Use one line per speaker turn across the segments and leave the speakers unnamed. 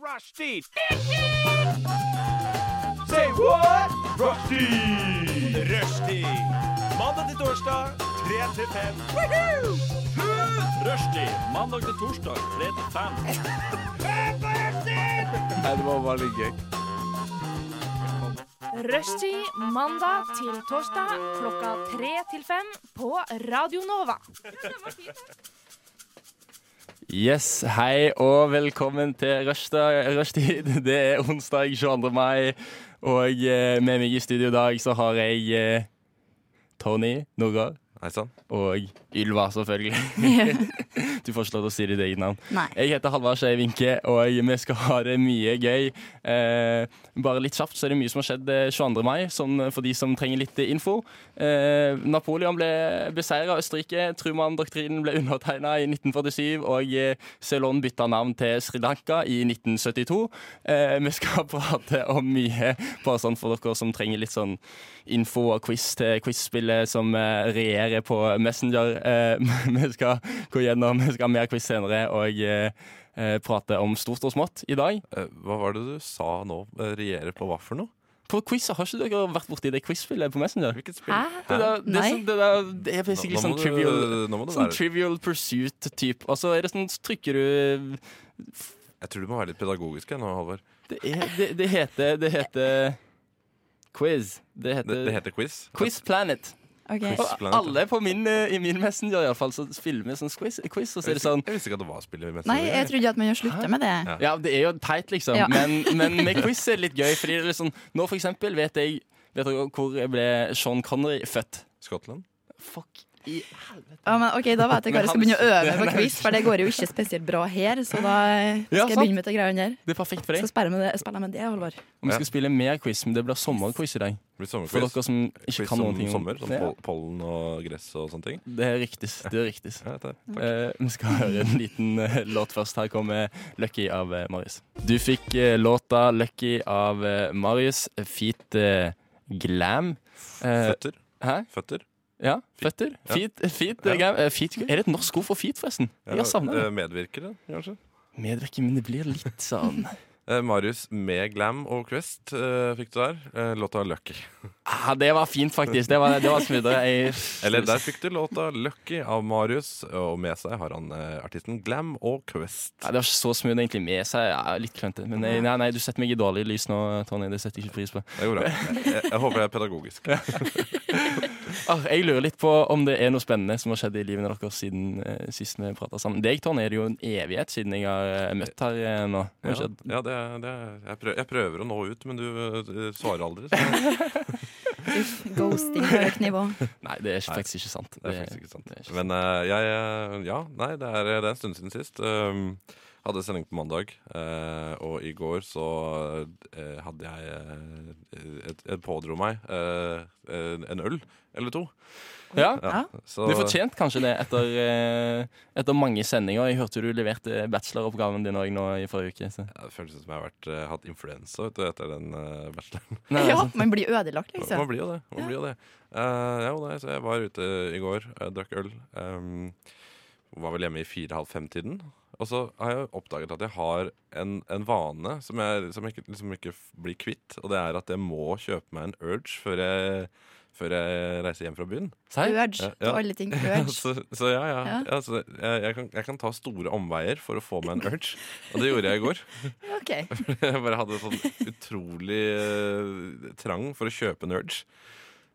Rushdie! Say what? Rushdie! Rushdie! Mandag til torsdag, 3 til 5. Rushdie! Mandag til torsdag, 3 til 5.
Rushtid mandag til torsdag klokka tre til fem på Radio Nova.
Yes, hei og velkommen til Rushda- Rushtid. Det er onsdag 22. mai, og eh, med meg i studio i dag så har jeg eh, Tony, Nora
Hei sann.
og Ylva, selvfølgelig. Du får ikke lov til å si ditt eget navn.
Nei.
Jeg heter Halvard Skei Vinke, og vi skal ha det mye gøy. Eh, bare litt kjapt, så er det mye som har skjedd eh, 22. mai, sånn eh, for de som trenger litt eh, info. Eh, Napoleon ble beseira av Østerrike, Truman-doktrinen ble undertegna i 1947, og eh, Ceylon bytta navn til Sri Lanka i 1972. Eh, vi skal prate om mye, bare sånn for dere som trenger litt sånn info og quiz til quizspillet som eh, regjerer på Messenger. Eh, vi skal gå gjennom, vi skal ha mer quiz senere og eh, eh, prate om stort og smått i dag.
Eh, Hva var det du sa nå? Eh, Regjere på hva for noe?
På quiz, har ikke dere vært borti det quizspillet på Messenger?
Hvilket spill?
Hæ?
Det, der, det, er
Nei.
sånn- det, der, det er
Nå-
basically
nå må
sånn
du-
trivial,
Nå må det
sånn
være
trivial pursuit-type. Og så er det sånn, så trykker du
Jeg tror du må være litt pedagogisk jeg, nå, Halvor.
Det, er, det, det heter Det heter quiz. Det heter,
Det, det heter quiz.
Eh, Quiz Planet.
Ok.
Quiz.
Og
Planet, ja.
alle på min, eh, i min Messenger i alle fall, så filmer sånn quiz, quiz, og så er det
Jeg visste,
sånn
jeg visste ikke at det var spill i Messenger.
Nei, jeg trodde at man jo slutta med det.
Ja, det er jo teit, liksom.
Ja.
Men, men med quiz er det litt gøy. Fordi det er litt sånn, nå, for eksempel, vet jeg Vet dere hvor ble Sean Connery født?
Skottland?
Fuck i
Ja, men ok, Da vet jeg
Men
hva jeg
han
skal begynne å øve
sitter-
på quiz, for det går jo ikke spesielt bra her. Så da skal
Ja,
jeg
sant.
begynne med de greiene der.
Det er perfekt for
Så
deg.
spiller jeg med det, spiller jeg med det Halvor.
Og vi skal spille mer quiz, men det blir sommerquiz i dag.
Det blir
For
sommerquiz.
dere som ikke
Quiz
kan noen
om
ting. om-
sommer. Som
Ja,
pol- pollen og gress og sånne ting.
det er riktig. Det er riktig.
Ja, det er-
Eh, vi skal høre en liten eh, låt først. Her kommer 'Lucky' av eh, Marius. Du fikk eh, låta 'Lucky' av eh, Marius. Feat eh, Glam. Eh,
Føtter.
hæ?
Føtter.
Ja, føtter. Feet, feet,
Ja.
eh, gam- eh, feet. Er det et norsk ord for feet, forresten? Jeg
Ja,
har savna
eh,
det.
Medvirkere, kanskje.
Medvirker, men det blir litt sånn
Eh, Marius med Glam og Quest eh, fikk du der. Eh, låta Lucky.
ah, Det var fint, faktisk. Det var, det var smoothere. Jeg-
Eller der fikk du låta Lucky av Marius, og med seg har han eh, artisten Glam og Quest.
Ja, det var ikke så smooth egentlig med seg. Ja, litt klønete. Men nei, nei, nei, du setter meg i dårlig lys nå, Tonje. Det setter jeg ikke pris på.
Det går bra. Jeg, jeg, jeg håper jeg er pedagogisk.
Ah, jeg lurer litt på om det er noe spennende som har skjedd i livene deres siden eh, sist vi prata sammen. Deg, Tonje, er det jo en evighet siden jeg har eh, møtt her eh, nå. Hva
Ja,
har skjedd?
ja det, er- det, er- jeg, prøver, jeg prøver å nå ut, men du eh, svarer aldri. Så
Uff, ghosting på høyt nivå.
Nei, det er
Nei.
faktisk ikke sant.
det er faktisk ikke sant.
det er ikke
Men eh, jeg eh, Ja, nei, det er, det er en stund siden sist. Um, hadde sending på mandag, eh, og i går så eh, hadde jeg eh, et, et Pådro meg eh, en en øl eller to.
Ja,
Ja, så,
Du fortjente kanskje det etter, eh, etter mange sendinger. Jeg hørte du leverte bacheloroppgaven din òg nå i forrige uke. Så.
Ja, Det føles som jeg har vært, eh, hatt influensa vet du, etter den eh, bacheloren.
Nei,
Ja,
altså,
man blir ødelagt, liksom.
Man blir jo det. Man blir jo det. Eh, jo, nei, så jeg var ute i går, eh, drakk øl. ehm, var vel hjemme i fire-halv fem-tiden. Og så har jeg oppdaget at jeg har en, en vane som jeg, som jeg ikke, liksom ikke f- blir kvitt. Og det er at jeg må kjøpe meg en Urge før jeg, før jeg reiser hjem fra byen.
Serr?
Ja,
Urge
altså. ja.
til alle ting. Urge.
så, så ja, ja.
Ja.
ja så jeg, jeg, kan, jeg kan ta store omveier for å få meg en Urge. Og det gjorde jeg i går.
Ok.
Jeg bare hadde sånn utrolig eh, trang for å kjøpe en Urge.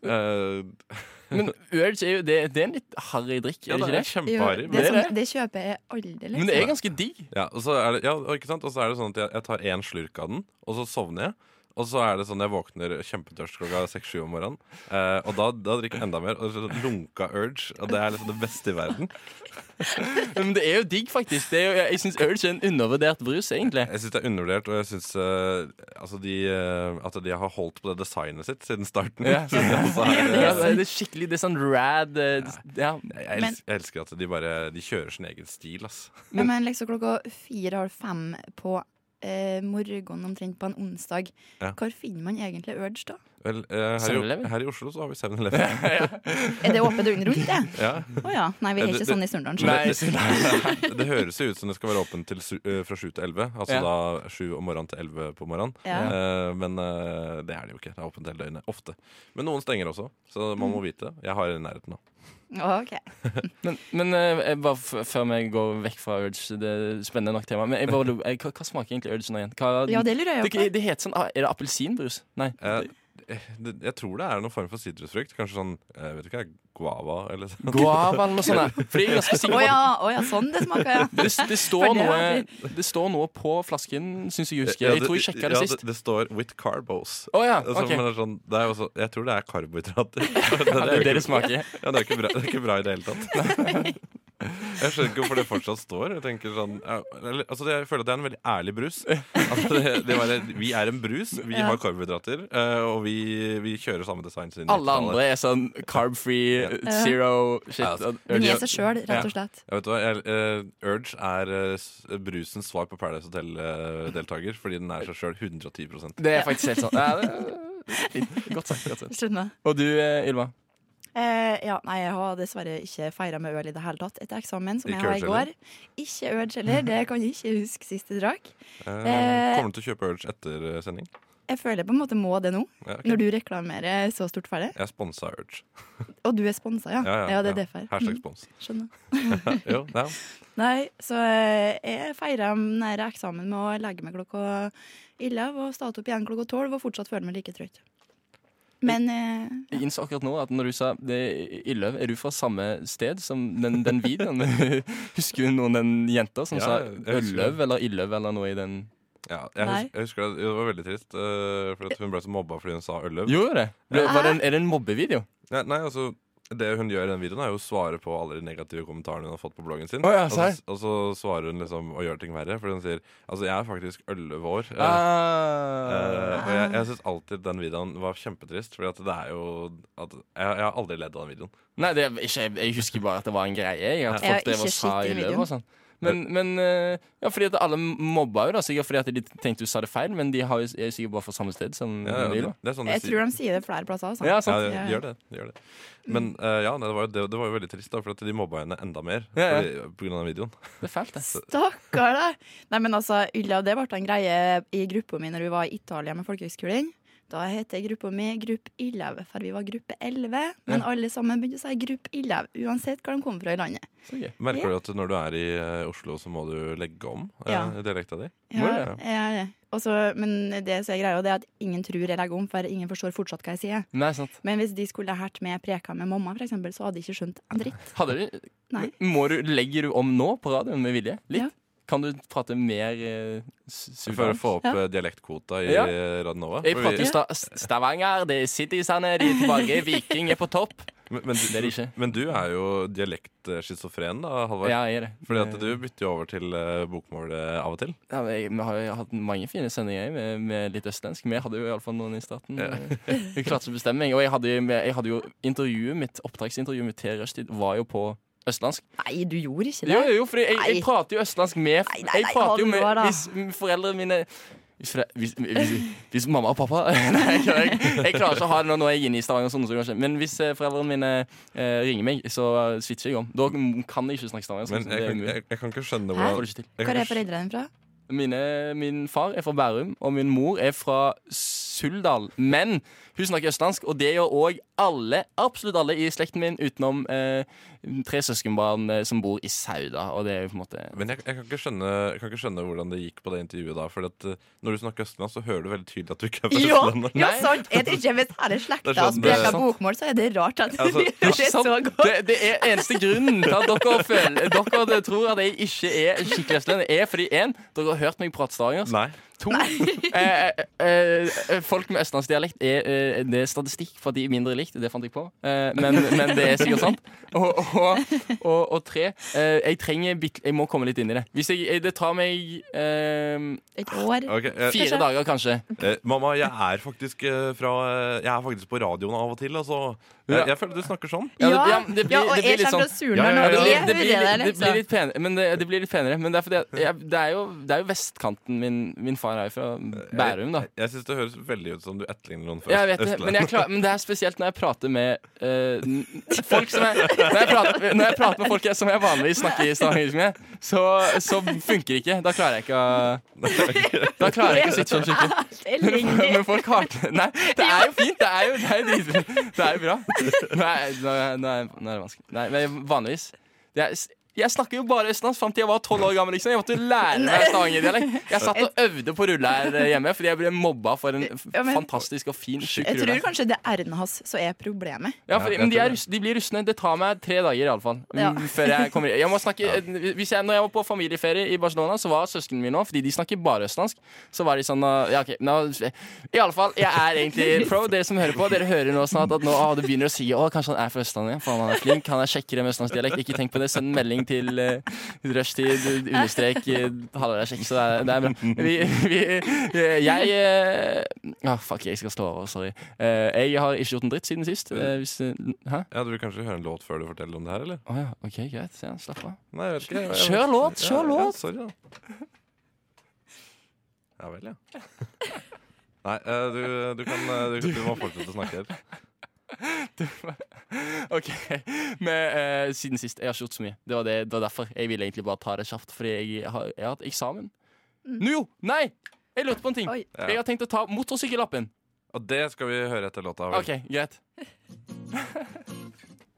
Eh,
Men Urge er jo det, det er en litt harry drikk,
ja,
er det
det
ikke det?
er
Jo,
kjempeharry.
det,
Men,
er
som,
det.
det kjøper jeg aldri,
Men det
liksom.
er ganske digg.
ja, og så er det, ja, og ikke sant? Og så er det sånn at jeg, jeg tar én slurk av den, og så sovner jeg. Og så er det sånn jeg våkner kjempetørst klokka seks-sju om morgenen. eh, og da, da drikker jeg enda mer. Og så lunka Urge. Og det er liksom det beste i verden.
Men det er jo digg, faktisk. Det er jo, jeg- jeg syns Urge er en undervurdert brus, egentlig.
Jeg syns det er undervurdert, og jeg syns altså de, eh, at de har holdt på det designet sitt siden starten.
Ja.
Så det også er-
Ja, det er skikkelig det er sånn rad eh, d- ja.
jeg,
Men-
elsker, jeg elsker at de bare De kjører sin egen stil, ass.
Ja, men liksom klokka fire-halv fem på eh, morgenen omtrent på en onsdag.
Ja.
Hvor finner man egentlig Urge da?
Vel, eh, her, i,
7-Eleven?
her i Oslo så har vi 7-Eleven.
Er det åpent døgnet rundt, det?
ja.
Å ja. Nei, vi
Eh,
er
det-
ikke sånn i Surndalen. så-
Nei,
det, det, det høres jo ut som det skal være åpent til, su- eh, fra 7 til 11. Altså
Ja.
da 7 om morgenen til 11 på morgenen.
Ja.
Eh, men eh, det er det jo ikke. Det er åpent hele døgnet. Ofte. Men noen stenger også, så man
Mm.
må vite. Jeg har det i nærheten nå.
Ok.
Men, men eh, jeg bare f før vi går vekk fra Urge, det er spennende nok tema. Men jeg bare, lurer- eh, hva, hva smaker egentlig Urge nå igjen? Hva,
Ja, det lurer jeg
det,
jo på.
det heter sånn ah, Er det appelsinbrus? Nei.
Eh, det, jeg tror det er noen form for sitrusfrukt. Kanskje sånn eh, vet du ikke, guava eller sånn.
Guava eller noe sånt. der. For det er jeg ganske sikker
Å
på.
ja, å ja, sånn det smaker, ja.
Det, det, står
For det
noe,
har
det står noe på flasken, syns jeg husker.
Ja,
Jeg tror jeg sjekka det
ja,
sist.
Det, det står 'with carbos'.
Å ja,
Altså,
ok.
men det er sånn, det er jo også, jeg tror det er karbohydrater.
Ja, det er det det
ikke-
smaker.
Ja, det er ikke bra, det er ikke bra i det hele tatt. Jeg skjønner ikke hvorfor det fortsatt står. Jeg tenker sånn, ja, eller, altså det, jeg føler at det er en veldig ærlig brus. Altså det, det var, vi er en brus, vi
Ja.
har karbohydrater, eh, og vi, vi kjører samme design. siden
Alle
90-tallet.
andre er sånn carb-free, zero shit.
Ja, altså.
Den er seg sjøl, rett
Ja.
og slett.
Ja, vet du hva? Jeg, eh, Urge er eh, s- brusens svar på Paradise Hotel-deltaker, fordi den er seg sjøl 110
Det er faktisk helt sånn. Ja, det er fint. Godt sagt. godt sagt
Skjønner.
Og du, eh, Ylva?
Eh, ja, nei, jeg har dessverre ikke feira med øl i det hele tatt etter eksamen. som
Ikke
jeg har i
Urge heller?
går. Ikke Urge heller. Det kan jeg ikke huske sist jeg drakk.
Eh, kommer du til å kjøpe Urge etter eh, sending?
Jeg føler jeg på en måte må det nå,
Ja, ok.
når du reklamerer så stort for det.
Jeg sponsa Urge.
Og du er sponsa, ja.
Ja, ja,
det
ja.
er derfor.
Hashtag
Mm,
spons.
skjønner.
Jo, ja.
Nei, så eh, jeg feira nære eksamen med å legge meg klokka elleve og starte opp igjen klokka tolv og fortsatt føle meg like trøtt. Men eh,
Jeg innså akkurat nå at når du sa det, Ylløv, er du fra samme sted som den, den videoen? Husker du noen den jenta som
Ja,
sa
jeg husker
Ølløv eller Ylløv eller noe i den
Ja, jeg,
Nei.
husker, jeg husker det, det var veldig trist, eh, for at hun ble så mobba fordi hun sa Ølløv.
Gjorde det? Ble, var det en, er det en mobbevideo?
Nei, nei, altså, det hun gjør i den videoen, er jo å svare på alle de negative kommentarene hun har fått på bloggen sin.
Å ja,
og, så,
serr?
og så svarer hun liksom og gjør ting verre, fordi hun sier Altså, jeg er faktisk elleve år. eh, eh,
Ah.
og jeg, jeg syns alltid den videoen var kjempetrist, Fordi at det er jo at, jeg, jeg har aldri ledd av den videoen.
Nei, det, er ikke, jeg, jeg husker bare at det var en greie. Jeg, at
Jeg har
folk drev og
ikke
sa
sett den
Ylløv
videoen.
og sånn. Men, men eh, ja, fordi at alle mobba jo, da. Sikkert fordi at de tenkte du sa det feil, men de har jo, er jo sikkert bare fra samme sted som
Ja, ja, det,
Ylløv.
det er sånn de
jeg
sier.
tror de sier det flere plasser. Altså.
Ja,
Ja,
sant?
det,
Ja,
det
ja.
gjør det. det, gjør det. Men eh, ja, nei, det, var, jo- det, det var jo veldig trist, da, for at de mobba henne enda mer
Ja, ja.
fordi- på grunn av den videoen.
Det er fælt, det.
Stakkar deg! Nei, men altså, Ulla, det ble en greie i gruppa mi når vi var i Italia med folkehøgskolen. Da heter gruppa mi Grupp 11, for vi var gruppe 11. Men alle sammen begynte å si Grupp 11, uansett hvor de kom fra i landet.
Så gøy.
Merker du at når du er i eh, Oslo, så må du legge om eh,
Ja.
dialekta di?
Må
Ja, ja, ja. Og så- men det som er greia, det er at ingen tror jeg legger om, for ingen forstår fortsatt hva jeg sier.
Nei, sant.
Men hvis de skulle hørt meg preka med mamma, for eksempel, så hadde jeg ikke skjønt en dritt.
Hadde du,
Nei.
Må du, legger du om nå på radioen med vilje? Litt?
Ja.
Kan du prate mer eh, sudan?
For å få opp
Ja.
eh, dialektkvota i
Ja.
Radionova.
Jeg prater jo
Vi-
sta Stavanger, det er Citysene, de er tilbake, Viking er på topp.
men, men,
Det er det ikke.
du, men du er jo dialektschizofren, da, Halvard.
Ja, jeg er det.
Fordi at du bytter jo over til eh, bokmål eh, av og til.
Ja, men jeg, vi har jo hatt mange fine sendinger jeg, med, med litt østlensk. Vi hadde jo iallfall noen i starten. Vi klarte å bestemme meg. Og jeg hadde, jo- jeg hadde jo intervjuet mitt, opptaksintervjuet mitt til Rushtid var jo på østlandsk.
Nei, du gjorde ikke
Jo,
det.
jo, jo, fordi jeg, jeg
Nei.
prater jo østlandsk med
Nei, nei,
Jeg
nei,
prater jo
hallo,
med
hva da?
hvis foreldrene mine hvis, fore- hvis, hvis, hvis mamma og pappa Nei, jeg, jeg, jeg klarer ikke å ha det nå når jeg er inne i Stavanger. og Sånn, så kanskje. Men hvis eh, foreldrene mine eh, ringer meg, så eh, switcher jeg om. Da kan jeg ikke snakke Stavanger.
Men
Sånn,
jeg,
det er
kan-
umulig.
jeg, jeg kan ikke
Jeg
skjønne
får
hvordan
det ikke til.
jeg
Hvor
kan
er
ikke skj-
foreldrene dine fra?
Mine, min far er fra Bærum, og min mor er fra Suldal. Men hun snakker østlandsk, og det gjør òg alle, absolutt alle i slekten min, utenom eh, tre søskenbarn eh, som bor i Sauda. Og det er jo på en måte
Men jeg, jeg, kan ikke skjønne, jeg kan ikke skjønne hvordan det gikk på det intervjuet da. For at, eh, når du snakker østlandsk, så hører du veldig tydelig at du ikke er fra
Ja,
Østlandet.
sånn,
ja
Nei. sånn,
sant! Jeg tror ikke Hvis hele
Det er
slekta
sant, det er
spreker
sant.
bokmål, så er det rart at
Altså,
vi gjør det så godt.
Det, det er eneste grunnen til at dere, føler, dere tror at jeg ikke er skikkelig østlending, er fordi en, dere har hørt meg prate stavanger.
Nei.
To eh, eh, eh, Folk med østlandsdialekt er, eh, Det er statistikk for at de er mindre likt, det fant jeg på. Eh, men, men det er sikkert sant. Og, og, og, og tre eh, Jeg trenger bitt, Jeg må komme litt inn i det. Hvis jeg, eh, det tar meg eh,
Et år.
Ok, eh,
fire dager, kanskje.
eh, mamma, jeg er faktisk eh, fra eh, Jeg er faktisk på radioen av og til. Altså. Jeg,
Ja.
jeg føler du snakker sånn.
Ja, det- ja,
Ja,
det blir-
ja, og
det blir
jeg
litt
kommer fra
sånn-
Ja, ja,
Surnadal nå.
ja,
og
ja.
jeg
det, blir,
hører det,
det, blir
liksom.
litt penere, men det, det blir litt penere. Men det er fordi at jeg, det, er jo, det er jo vestkanten min Min far er jo fra Bærum, da.
Jeg, jeg syns det høres veldig ut som du etterligner noen fra
Jeg vet det, men, jeg klar, men det er spesielt når jeg prater med eh, n- folk som jeg Når jeg prater, når jeg prater med folk jeg, som jeg vanligvis snakker stavanger med, så, så funker det ikke. Da klarer jeg ikke å Da klarer jeg ikke å sitte sånn skikkelig.
Elendig.
Men folk har ikke Nei, det er jo fint. Det er jo, det er jo, dritfint. det er jo bra. Nei, nå er, nå er, nå er det vanskelig. Nei, men vanligvis det er, Jeg snakker jo bare østlands fram til jeg var tolv år gammel. liksom Jeg måtte jo lære meg stavangerdialekt. Jeg satt og øvde på rulle her hjemme fordi jeg ble mobba for en f-
Ja, men-
fantastisk og fin, sjuk
Jeg tror
rulle.
kanskje det er r-en hans som er problemet.
Ja, fordi,
Ja, jeg
men de,
tror
er
det.
russ, de blir russende. Det tar meg tre dager iallfall.
Ja.
Mm, Før jeg kommer jeg må snakke, hvis jeg, Når jeg var på familieferie i Barcelona, så var søsknene mine òg, fordi de snakker bare østlandsk. Så var de sånn ah, Ja, OK. Nå, iallfall, jeg er egentlig pro. Dere som hører på, dere hører nå snart at nå ah, det begynner å si Å, kanskje han er fra Østlandet. Faen, han er flink. Han er kjekkere med østlandsdialekt. Ikke tenk på det. Send melding til uh, rushtid, understrek, eh, hallo, det er kjekk, så det er, det er bra. Vi, vi, eh, jeg eh, ah, Fuck, jeg skal stå over. Sorry. Eh, jeg har ikke gjort en dritt siden sist. eh, hvis, eh, hæ?
Ja, Du vil kanskje høre en låt før du forteller om det her, eller?
Å ja, ok, greit. Ja, slapp av.
Nei, jeg vet ikke. Jeg-
Kjør låt, kjør
ja, Ja,
låt.
sorry, da. Ja vel, ja. Nei, eh, du, du kan eh, du, du må fortsette å snakke helt.
Ok, Men eh, siden sist, jeg har ikke gjort så mye. Det var, det, det var derfor. Jeg ville egentlig bare ta det kjapt, fordi jeg har, jeg har hatt eksamen. Nå jo! Nei! Jeg lurte på en ting.
Mm. Oi.
Ja.
Jeg har tenkt å ta motorsykkellappen.
Og det skal vi høre etter låta. vel?
Ok, greit.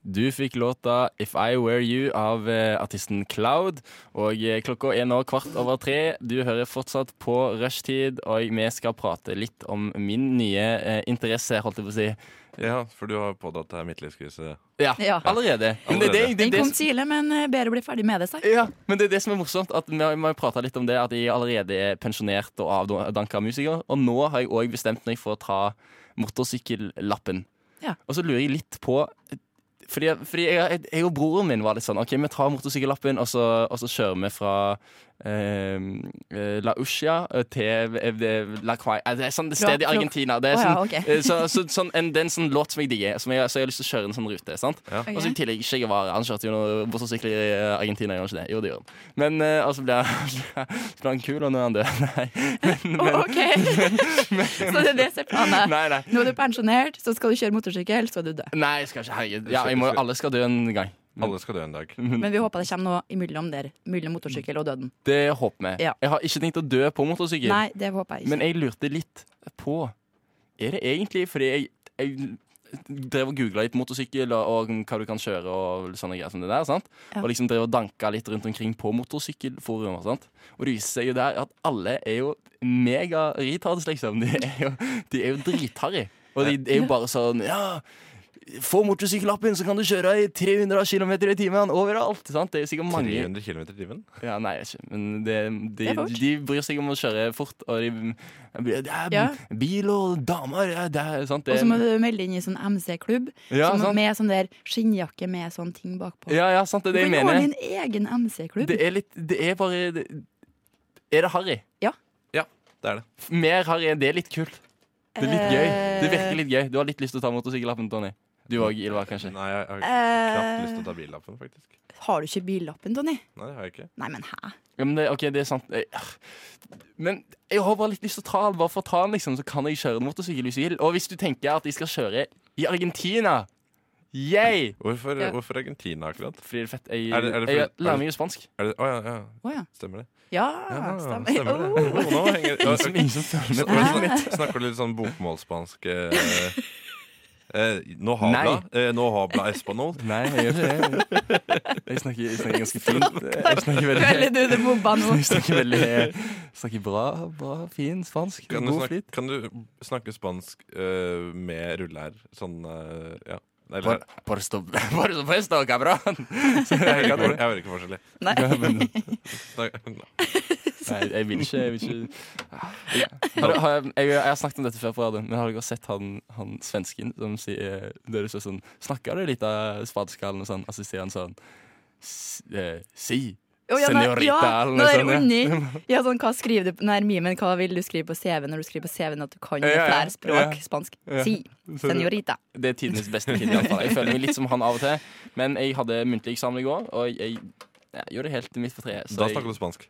Du fikk låta 'If I Were You' av eh, artisten Cloud. Og eh, klokka er nå kvart over tre. Du hører fortsatt på rushtid, og vi skal prate litt om min nye eh, interesse, holdt jeg på å si.
Ja, For du har pådratt deg midtlivskrise.
Ja,
Ja.
allerede. Men det, er det, det,
Den
det,
kom tidlig, men eh, bedre å bli ferdig med det, sa jeg.
ja, men det er det som er morsomt, at vi har, vi har prata litt om det, at jeg allerede er pensjonert og avdanka musiker. Og nå har jeg òg bestemt meg for å ta motorsykkellappen.
Ja.
Og så lurer jeg litt på fordi, fordi jeg, jeg, jeg og broren min var litt sånn OK, vi tar motorsykkellappen, og så, og så kjører vi fra eh, eh, La Ushia til eh, det- La Quai eh, Det er sånn et
Fra-
sted i
fra-
Argentina. Det er
Å
sånn,
ja, ok.
eh, så, så, sånn, en, det er en sånn låt som jeg digger, som jeg, så jeg har lyst til å kjøre en sånn rute. sant? Og så i
Ok.
tillegg Che Guevara. Han kjørte jo noe motorsykkel i eh, Argentina, gjorde han ikke det? Jo, det gjorde han. Men eh, altså ble han, så ble han kul, og nå er han død. Nei. Men,
Å,
men,
ok. Så det er det som er planen.
nei, nei.
Nå er du pensjonert, så skal du kjøre motorsykkel, så er du død.
Nei, jeg skal ikke herregud. Ja, jeg må, alle skal dø en gang.
Alle skal dø en dag.
Men vi håper det kommer noe imellom der. Mellom motorsykkel og døden.
Det håper vi.
Ja.
Jeg har ikke tenkt å dø på motorsykkel.
Nei, det håper jeg ikke.
Men jeg lurte litt på Er det egentlig fordi jeg, jeg drev og googla litt motorsykkel og, og hva du kan kjøre og sånne greier som det der, sant?
Ja.
Og liksom drev og danka litt rundt omkring på motorsykkelforumer, sant? Og det viser seg jo der at alle er jo mega-retards, liksom. De er jo, de er jo dritharry. Og de er jo bare sånn Ja! Få motorsykkellappen, så kan du kjøre i 300 km i timen overalt! Sant? Det er jo sikkert mange
300 km i timen?
ja, nei, jeg vet ikke. Men det, de,
Det er fort.
de bryr seg om å kjøre fort, og de Det er
Ja.
bil og damer ja, Det er sant,
Og
det.
så må du melde inn i sånn MC-klubb
ja,
som-
sant.
med sånn der skinnjakke med sånn ting bakpå.
ja, ja, sant, det er det jeg
Du kan
mener.
ordne en egen MC-klubb.
Det er litt Det er bare det, Er det harry?
Det er det.
Mer harry enn det er litt kult. Det er litt gøy. Det virker
Eh,
litt gøy. Du har litt lyst til å ta motorsykkellappen, Tony. Du òg, Ylva, kanskje.
Nei, jeg har knapt lyst til å
eh,
ta billappen, faktisk.
Har du ikke billappen, Donny?
Nei, det har jeg ikke.
Nei, men hæ?
Ja, men det, ok, det er sant. Jeg- ah. Men jeg har bare litt lyst til å ta den. Bare for å ta den, liksom, så kan jeg kjøre en motorsykkel hvis jeg vil. Og hvis du tenker at jeg skal kjøre i Argentina Yay!
Hvorfor,
Ja.
hvorfor Argentina akkurat?
Fordi det er fett. Jeg,
Er det- er det fordi-
jeg
er
lærer
det-
meg jo spansk.
Er det, å ja, ja,
Å ja.
stemmer det?
Ja, stemmer.
stemmer det.
Oh.
Oh, nå henger, ja, ok.
Ingen som følger
Snak- snak- Snakker du litt sånn bokmålsspansk eh, eh, No habla, eh, no habla espanol.
Nei, jeg gjør ikke det. Jeg snakker, jeg snakker ganske fint. Jeg snakker veldig,
Føler Oh, du det mobba nå?
jeg snakker veldig snakker bra, bra, fin spansk.
Kan du,
God
snakke,
flyt.
kan du snakke spansk eh, med rullær? Sånn eh, ja. Eller,
Por, por, sto- por supuesto, cabrón.
jeg, hører ikke for- jeg hører ikke forskjell. jeg.
Nei.
Snak-
Nei, jeg vil ikke. Jeg vil ikke. Har, du- har jeg, jeg, jeg har snakket om dette før på radioen, men har dere sett han, han svensken som sier Dere sier sånn Snakker du litt av spadeskallen og sånn? Og så sier han sånn "S- eh, Si!
Å, ja, nei,
Senorita,
ja,
eller noe
når
sånt, ja.
Unni, ja, sånn, hva skriver du Nei, men hva vil du skrive på CV når du skriver på CV-en at du kan
Ja, ja,
flere språk?
ja.
Spansk.
Ja.
Si.
Så det-
Senorita.
Det er tidenes beste kid, iallfall. Jeg føler meg litt som han av og til. Men jeg hadde muntlig eksamen i går, og jeg, jeg gjorde det helt midt på treet. Så
Da
jeg,
snakker du spansk.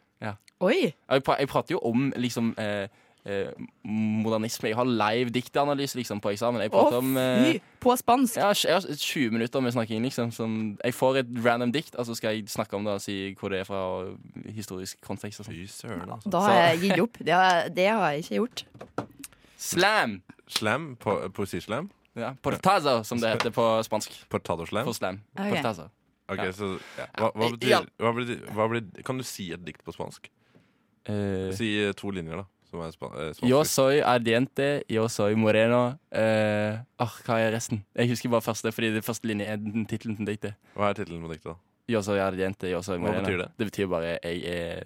Oi!
jeg, pra- jeg prater jo om liksom eh, eh, modernisme. Jeg har live diktanalyse liksom, på eksamen. Jeg
Å,
prater om eh,
fy! På spansk.
ja, jeg har 20 minutter med snakking. liksom som, Jeg får et random dikt, og så skal jeg snakke om det og si hvor det er fra, og historisk kontekst og sånn.
Fy søren, altså.
Da har jeg gitt opp. Det har, det har jeg ikke gjort.
Slam!
Slam, po poesislam.
Ja, Portazo, som det heter på spansk.
Portadoslam.
For slam.
Ok.
Portazo.
Ok,
Ja. eh,
så ja. hva, hva,
Ja.
betyr, hva, betyr, hva betyr Kan du si et dikt på spansk?
Eh,
Si eh, to linjer, da. Som er spa, eh, spansk.
Yo soy ardiente, yo soy moreno. Eh, ah, hva er resten? Jeg husker bare første, fordi det første linje er den tittelen til diktet.
Hva er tittelen på diktet? da?
Yo soy ardiente, yo soy
Hva
moreno.
betyr det?
Det betyr bare jeg er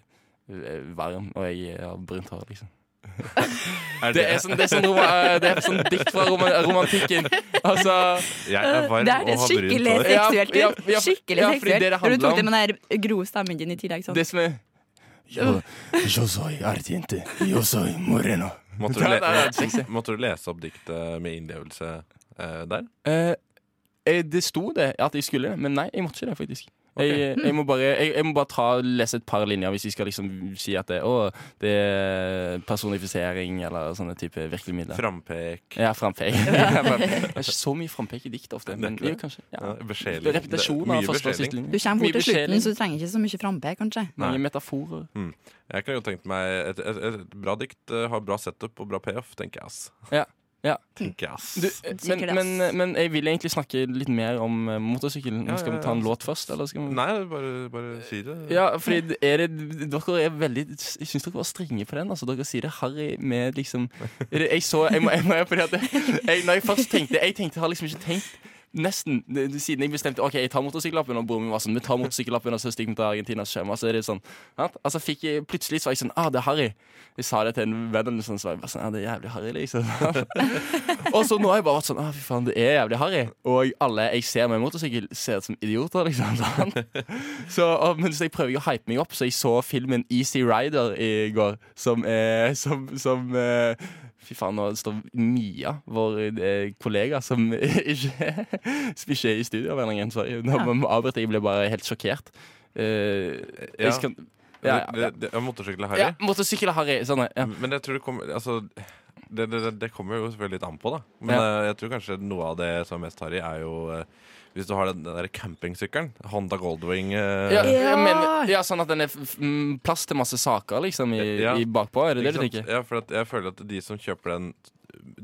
eh, varm, og jeg har brunt hår, liksom. Det er sånn, det er sånn, roma, eh, det er sånn dikt fra roma, romantikken. Altså
Jeg er varm
Eh, Det er det
og har brunt
skikkelig
hår.
Ja,
seksuelt.
ja, ja,
skikkelig
ja, fordi
seksuelt.
det det
Når du
handler
tok det med den der gro stemmen din i tillegg. Sånn.
Det som er Yo, yo soy ardiente, yo soy moreno.
Måtte du,
Ja,
le
det er helt sexy.
måtte du lese opp diktet med innlevelse eh, der?
Eh, eh, det sto det at jeg skulle, men nei, jeg måtte ikke det, faktisk. Jeg, eh, jeg, må bare, jeg, jeg må bare ta, lese et par linjer hvis jeg skal liksom si at det, å, det er personifisering eller sånne type virkemidler.
Frampek.
Ja, frampek. det er ikke så mye frampek i dikt ofte,
Det er
men
ikke det.
jo, kanskje. Ja.
Ja, beskjeling.
Repetasjon
Det
av
er mye
første og
beskjeling.
siste linje.
Du kommer
Mye Eh.
fort til slutten,
beskjeling.
så du trenger ikke så mye frampe, kanskje.
Nei.
Mange metaforer.
Jeg kunne jo tenkt meg et, et, et bra dikt, eh, har bra setup og bra payoff, tenker jeg, ass.
Ja, ja.
Tenker jeg, ass.
Du, eh, men,
Sikkert, ass.
men, men jeg vil egentlig snakke litt mer om eh, motorsykkelen.
Ja,
Skal
ja,
vi ta en
ja.
låt først, eller skal vi
Nei, bare, bare si det.
Ja, fordi d- er det, dere er veldig Jeg syns dere var strenge på den. Altså, dere sier det harry med liksom er det- Jeg så jeg må, jeg må, fordi at jeg, Når jeg først tenkte Jeg tenkte, har liksom ikke tenkt Nesten d- d- siden jeg bestemte Ok, jeg tar motorsykkellappen, og broren min var sånn Vi tar motorsykkellappen, og så stikker vi til Argentina og så kommer. Så er det sånn sant? Altså fikk jeg Plutselig så var jeg sånn Ah, det er harry. Jeg sa det til en venn, eller sånn, så var jeg bare sånn Ja, det er jævlig harry, liksom. Og så nå har jeg bare vært sånn Å, fy faen, det er jævlig harry. Og alle jeg ser med motorsykkel, ser ut som idioter, liksom. sant? Så, og, men så jeg prøver jo å hype meg opp, så jeg så filmen Easy Rider i går, som er Som, som eh, Fy faen, nå står Mia, vår eh, kollega, som ikke, som ikke er i studio av en eller annen grunn. Sorry. Nå må vi avbryte, jeg ble bare helt sjokkert. Eh,
Ja.
Jeg skal
ja,
Ja, ja, ja.
Motorsykkel er harry.
ja motorsykkel er harry. Sånn, ja.
Men jeg tror det kommer Altså det, det, det- det kommer jo selvfølgelig litt an på, da. Men eh, jeg tror kanskje noe av det som er mest harry, er jo eh, hvis du har den, den der campingsykkelen. Honda Goldwing. eh,
Ja,
Ja.
Men, ja, sånn at den er f- mm, plass til masse saker liksom i,
Ja.
i bakpå? Er det det
ikke
du
sant?
tenker?
Ja, for at jeg føler at de som kjøper den,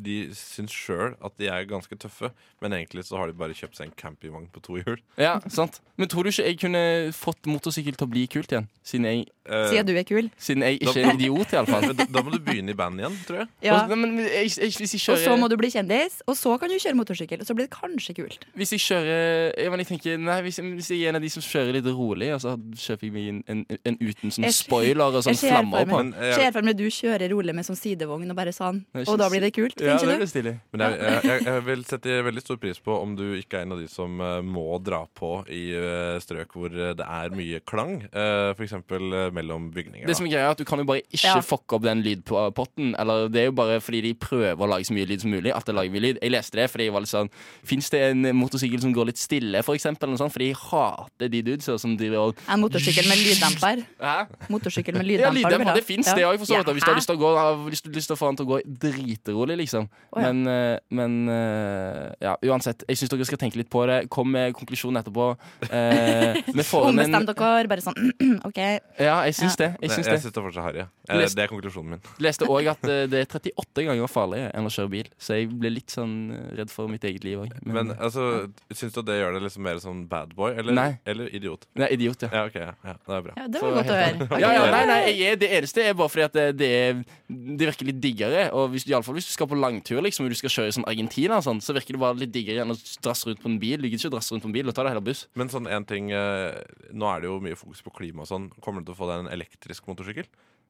de syns sjøl at de er ganske tøffe, men egentlig så har de bare kjøpt seg en campingvogn på to hjul.
Ja, sant Men tror du ikke jeg kunne fått motorsykkel til å bli kult igjen? Siden jeg,
Eh,
Sier du er kul.
siden jeg
Da-
ikke er idiot, iallfall.
men da, da må du begynne i band igjen, tror jeg.
Ja.
Og, nei, men jeg, jeg, hvis jeg
Og
kjører,
så må du bli kjendis, og så kan du kjøre motorsykkel. Og så blir det kanskje kult.
hvis jeg kjører ja, men jeg tenker, nei, hvis, jeg- hvis jeg er en av de som kjører litt rolig, og så kjøper jeg meg en, en, en uten sånn
Jeg-
spoiler og sånn
jeg ser
flammer
for
på.
meg-
Men,
Ser
jeg,
for meg du kjører rolig med sånn sidevogn og bare sånn,
Det er
og da
ikke
blir det kult,
Ja, det
tenker du?
blir stilig.
men jeg, jeg, jeg, jeg vil sette veldig stor pris på om du ikke er en av de som eh, må dra på i eh, strøk hvor eh, det er mye klang. eh, for eksempel eh, mellom bygninger.
Det som
Da.
er greia er at Du kan jo bare ikke
Ja.
fucke opp den lydpotten. Eller Det er jo bare fordi de prøver å lage så mye lyd som mulig. At det lager mye lyd Jeg leste det fordi jeg var litt sånn Fins det en motorsykkel som går litt stille, for eksempel? Eller noe sånt? Fordi jeg hater de dudesa som driver og
En motorsykkel med lyddemper.
Hæ?
Motorsykkel med
Ja,
lyddemper. du vil
lyddemper,
ha.
det fins,
Ja.
det òg, for så vidt. da, Hvis du har
Ja.
lyst til å gå har lyst, lyst til å få han til å gå dritrolig, liksom.
Å, ja.
Men, eh, men eh, ja, uansett. Jeg syns dere skal tenke litt på det. Kom med konklusjonen etterpå. Eh, vi får inn en
Ombestemt dere, bare sånn OK.
Ja, jeg syns det. Jeg
Nei,
syns
jeg
det.
syns det er fortsatt harry. ja. Eh,
Lest-
Det er konklusjonen min.
Leste òg at eh, det er 38 ganger farligere enn å kjøre bil, så jeg ble litt sånn eh, redd for mitt eget liv òg.
Men altså, syns du at det gjør deg liksom mer sånn bad boy, eller,
Nei.
eller idiot?
Nei, idiot, ja.
Ja, ok, ja, ja, det er bra.
Ja, det
Så
var godt å
helt-
høre.
Ja, ja,
Ok.
nei, nei, jeg er, Det eneste er bare fordi at eh, det, det, er, det virker litt diggere. Og hvis, i alle fall hvis du skal på langtur liksom, og du skal kjøre i sånn Argentina, og sånn, så virker det bare litt diggere enn å drasse rundt på en bil. Du gidder ikke å drasse rundt på en bil, da tar du heller buss.
Men sånn en ting eh, Nå er det jo mye fokus på klima og sånn. Kommer du til å få deg en elektrisk motorsykkel?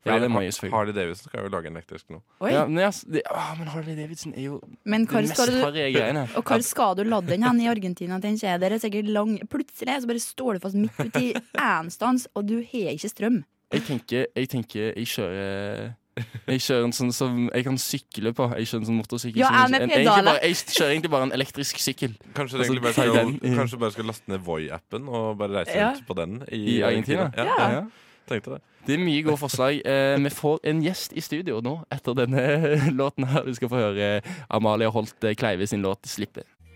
Ja, det må
Har-
jeg selvfølgelig.
Harley Davidson skal jo lage en elektrisk nå.
Oi.
Ja, men, altså, det, ah, men Harley Davidson er jo
Men
det
hvor
mest
skal du
harrige greiene.
og hvor skal du lade den hen i Argentina? tenker jeg? Der er sikkert lang Plutselig så bare står du fast midt ute i en stans, og du har ikke strøm.
Jeg tenker jeg, tenker, jeg kjører jeg kjører en sånn som jeg kan sykle på. Jeg kjører en sånn motorsykkel
Ja,
som
jeg med
en- egentlig
pedaler.
bare, Jeg kjører egentlig bare en elektrisk sykkel Altså,
Kanskje du egentlig bare
ta
skal,
den i-
kanskje du bare skal laste ned Voi-appen og bare reise
Ja.
rundt på den i,
i Argentina.
Ja, ja. tenkte det.
Det er mye gode forslag. Eh, vi får en gjest i studio nå etter denne låten her. Du skal få høre Amalie Holt eh, Kleive sin låt 'Slippe'.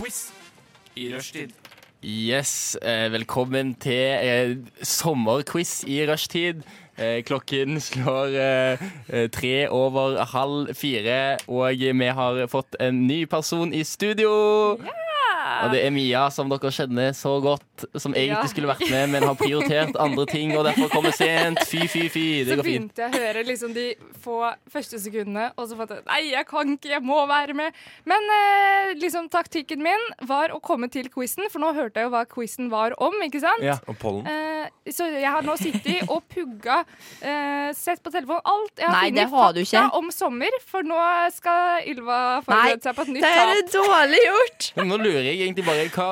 Quiz i rushtid.
Yes, eh, velkommen til eh, sommerquiz i rushtid. Eh, klokken slår eh, eh, tre over halv fire, og vi har fått en ny person i studio. Og det er Mia, som dere kjenner så godt, som egentlig
Ja.
skulle vært med, men har prioritert andre ting og derfor kommer sent. Fy, fy, fy.
Så
Det går fint.
begynte jeg å høre liksom de få første sekundene, og så fant jeg ut nei, jeg kan ikke, jeg må være med. Men eh, liksom taktikken min var å komme til quizen, for nå hørte jeg jo hva quizen var om, ikke sant?
Ja.
Og pollen.
Eh, så jeg har nå sittet og pugga, eh, sett på telefonen, alt. Jeg
Nei, det har du ikke.
om sommer, for nå skal Ylva
Nei,
forberede seg på et nytt
Det er
tap.
dårlig gjort!
Men nå lurer jeg egentlig bare hva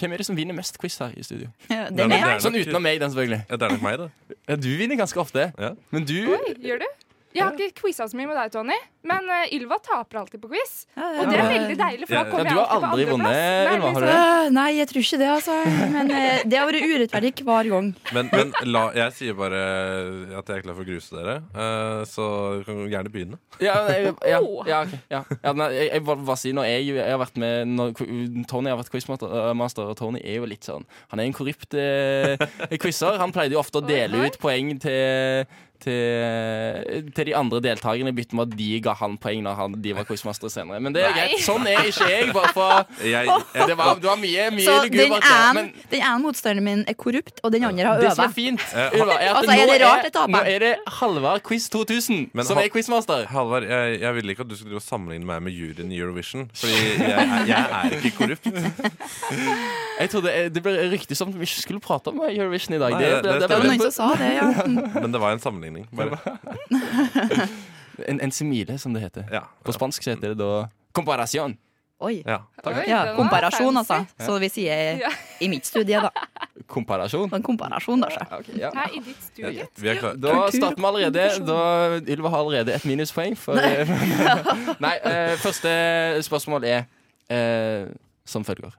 hvem er det som vinner mest quiz her i studio?
Nei,
Den
men
er
det er
Sånn
nok-
utenom meg, den selvfølgelig.
Ja, det er nok meg, det.
Ja, du vinner ganske ofte.
Ja.
Men du
Oi, gjør du? Jeg har ikke quiza så mye med deg, Tony, men eh, Ylva taper alltid på quiz.
Ja, ja.
Og det er veldig deilig, for
Ja,
da
ja.
kommer
Ja,
jeg
du har
alltid på
aldri vunnet,
andreplass. Nei,
Ylva, har du
liksom.
det?
Øh, Nei, jeg tror ikke det, altså. Men eh, det har vært urettferdig hver gang.
Men, men la, jeg sier bare at jeg er klar for å gruse dere, eh, så du kan gjerne begynne.
Ja, nei, ja,
Åh.
ja, ok, ja. ja nei, jeg, jeg bare, bare sier når jeg, jeg har vært med når, Tony har vært quizmaster, eh, og Tony er jo litt sånn Han er en korrupt eh, quizer. Han pleide jo ofte å
Oi, oi.
dele ut poeng til til, til de andre deltakerne i bytte med at de ga han poeng når han, de var quizmaster senere. Men det er greit. Sånn er ikke jeg. Bare for,
Jeg,
det, var, det var mye, mye
Så den
lugubert. der,
ene
men-
den ene motstanderen min er korrupt, og den andre har
det som er
øvd.
fint,
Eh,
Ulva, er at
Altså, er
nå,
det rart jeg taper?
nå er det Halvard Quiz 2000
Men
som
ha-
er quizmaster.
Halvard, jeg, jeg ville ikke at du skulle drive og sammenligne meg med juryen i Eurovision. Fordi jeg, er- jeg er ikke korrupt.
Jeg trodde eh, Det ble ryktet som om vi ikke skulle prate om Eurovision i dag.
Nei,
det,
det-
ble- ble-
det
Det var noen som sa det, ja. Mm.
Men det var en sammenligning. Bare.
en, en simile, som det heter.
Ja,
På spansk så heter det da Comparación.
Oi.
ja.
Oi, den
Ja,
var
komparasjon, altså.
fancy.
Så vi sier
Ja.
i mitt studie, da.
Komparasjon.
En komparasjon, da. så.
Ok, ja.
Her i ditt studie.
Vi er klare.
Da starter vi allerede. Da Ylva har allerede et minuspoeng. For, nei, eh, første spørsmål er eh, som følger.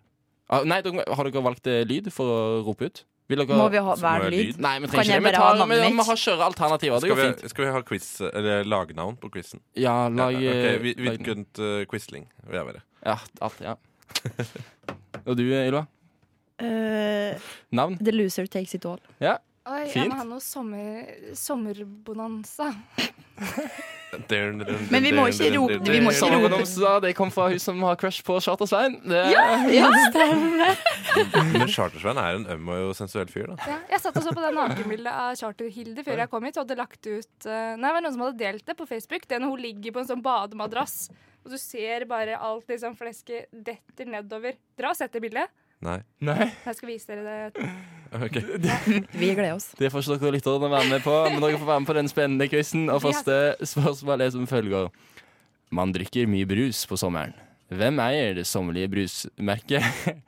Ah, nei, dere, har dere valgt eh, lyd for å rope ut? Vil dere
Må vi ha
Så må
hver
jeg
lyd?
Nei, vi
Kan
trenger
jeg
ikke det. Vi,
bare ha
tar, vi,
navnet
vi
mitt?
har kjøre alternativer. Det
Skal
går
vi,
fint.
skal vi ha quiz, eller lagnavn på quizen?
Ja, lag eh,
Ok, vi-
lag-
Vidkund uh, Quisling vil jeg være.
Ja, alt, ja. Og du, Ylva?
Eh,
Navn?
the loser takes it all.
Oi, jeg
Fint.
må ha noe sommer, sommerbonanza.
Men vi må ikke rope- vi må ikke rope.
Sommerannonser, Eh, det kom fra hun som har crush på Charter-Svein. Det,
Men Chartersveien er en øm og sensuell fyr, da.
Ja, jeg satt og så på det nakenbildet av Charter-Hilde før jeg kom hit. Og hadde lagt ut eh, Nei, det var noen som hadde delt det på Facebook. Den hun ligger på en sånn bademadrass, og du ser bare alt liksom flesket detter nedover. Dra og sett det bildet.
Nei.
Nei,
Jeg skal vise dere det.
Ok.
Vi gleder oss.
det får ikke dere lytterne være med på, men dere får være med på den spennende quizen. Og første spørsmål er som følger. Man drikker mye brus på sommeren. Hvem eier det sommerlige brusmerket?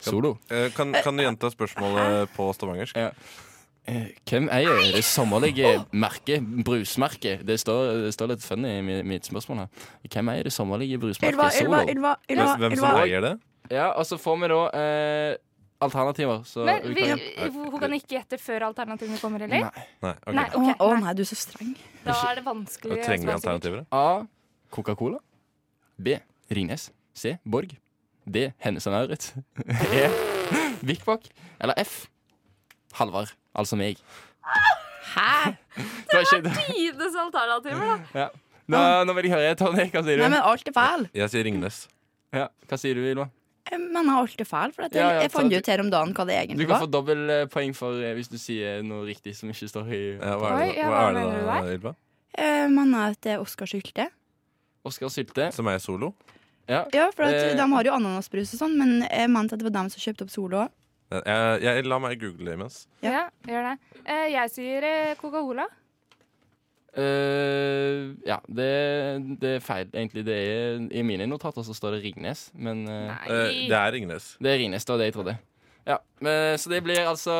Solo.
Eh, Kan, kan du gjenta spørsmålet på stavangersk?
Eh, Hvem eier det sommerlige merket, brusmerket? Det står, det står litt funny i mi- mitt spørsmål her. Hvem eier det sommerlige
Ylva,
brusmerket?
Ylva,
Solo.
Ylva. Ylva,
Hvem- Hvem som
Ylva.
eier det?
Ja, og så får vi da eh, alternativer. Så
Men
vi
vi,
kan-
hun kan ikke gjette før alternativene kommer, eller?
Nei.
Nei, ok.
Nei,
Å
ok,
å,
nei.
nei, du er så streng.
Da er det
Da
vanskelig.
trenger vi
svar, sikkert.
alternativer. da.
A. Coca-Cola. B. Ringnes. C. Borg. D. Hennes og Maurits. E. Vikbakk. Eller F. Halvard. Altså meg.
Hæ?
Det var ikke det.
Tidenes alternativer, da.
Ja. Nå, nå vil jeg høre. Tony, hva sier
Nei,
du?
men alt er feil.
Jeg sier Ringnes.
Ja. Hva sier du, Ylva?
Jeg mener Eh, alt er feil, for at jeg,
Ja, ja,
jeg fant
så-
ut her om dagen hva det
Du
egentlig
kan få
var.
dobbel eh, poeng for eh, hvis du sier noe riktig som ikke står i
Ja, Eh, hva er
Oi,
det,
ja,
da- hva
hva
er det
mener du
da, Ylva?
Jeg mener at det er Oskar Sylte.
Oskar Sylte.
Som er solo?
Ja.
Ja, for at
Eh.
de har jo ananasbrus og sånn, men jeg mente at det var dem som kjøpte opp Solo òg.
Eh, Jeg, jeg, la meg google det imens.
Ja.
Ja, gjør det. Eh, jeg sier eh, Coca-Cola.
Eh, ja, det, det er feil, egentlig. Det er, I mine notater så står det Ringnes, men eh,
Eh, Det er Ringnes.
det er Ringnes, det var det jeg trodde. Ja, men, Så det blir altså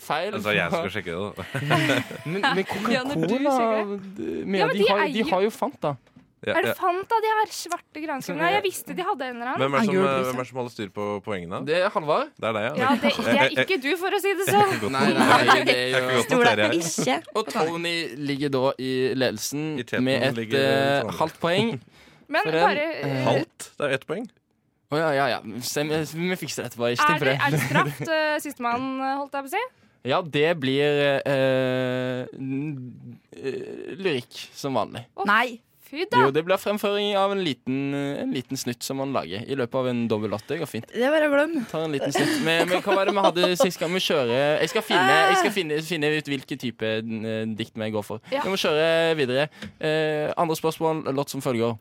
feil.
Altså, jeg skal sjekke det. da.
men men
Ja, når du
Coca-Cola
sjekker
d- men
Ja, men
de,
de
har,
eier
de
jo-
har jo Fanta.
Ja,
Er
ja.
det fant av de her svarte granskene? Nei, jeg visste de hadde en eller annen.
Hvem er det som,
Ah,
eh,
julebrus, ja.
hvem er det som holder styr på poengene?
Det er Halvard.
Det er deg, ja.
Ja, det, det er ikke du, for å si det sånn.
Godt
Nei,
nok.
nei, det er
Jeg kan
jo
godt
Tror
notere
dere
her.
ikke?
Og Tony ligger da i ledelsen
I teten
med et
ligger
eh,
Tony.
halvt poeng.
Men
For en-
bare
eh,
Halvt? Det er jo ett poeng.
Å ja, ja, ja. Stem, vi fikser det etterpå. Ikke
Er
tenk på
det,
det.
er det straff, eh, sistemann, eh, holdt jeg på å si?
Ja, det blir eh, n- eh, lyrikk som vanlig.
Nei.
Fy da!
Jo, det blir fremføring av en liten, en liten snutt som man lager i løpet av en dobbel latte. Det går fint.
Det er bare å glemme.
Tar en liten snutt. Men, men hva var det vi hadde sist gang vi kjører? Jeg skal finne, jeg skal finne, finne ut hvilken type eh, dikt vi går for.
Ja.
Vi må kjøre videre. Eh, andre spørsmål, låt som følger.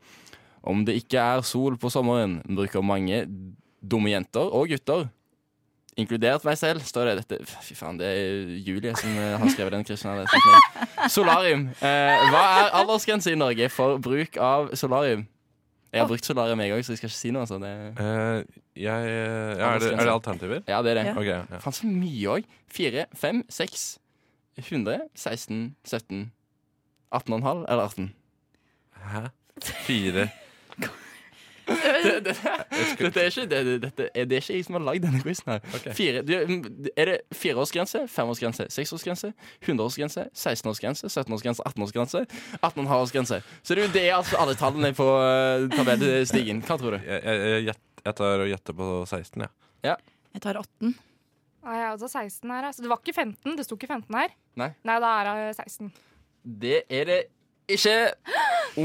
Om det ikke er sol på sommeren, bruker mange dumme jenter og gutter. Inkludert meg selv, står det i dette. Fy faen, det er Julie som eh, har skrevet den kristne. det er sant meg. Solarium. Eh, hva er aldersgrense i Norge for bruk av solarium? Jeg har brukt solarium, jeg òg, så jeg skal ikke si noe sånt. Det-
Eh, jeg, ja, er, det, er det alternativer?
Ja, det er det.
Ja.
Ok, ja.
Faen, så mye òg. 4, 5, 6, 100, 16, 17, 18,5 eller 18.
Hæ? Fire
Dette er ikke, det, det, dette, er det er ikke jeg som har lagd denne quizen her.
Ok.
Fire, du, er det fireårsgrense, femårsgrense, seksårsgrense, hundreårsgrense, 16-årsgrense, 17-årsgrense, 18-årsgrense, 18,5-årsgrense? Så det er jo det altså alle tallene på eh, tabellstigen. Hva tror du?
Jeg, jeg, jeg, gjett- jeg tar og gjetter på 16, jeg.
Jeg tar 18.
Nei, jeg er også 16 her, altså. Det var ikke 15, det sto ikke 15 her.
Nei.
da er jeg 16.
Det er det ikke.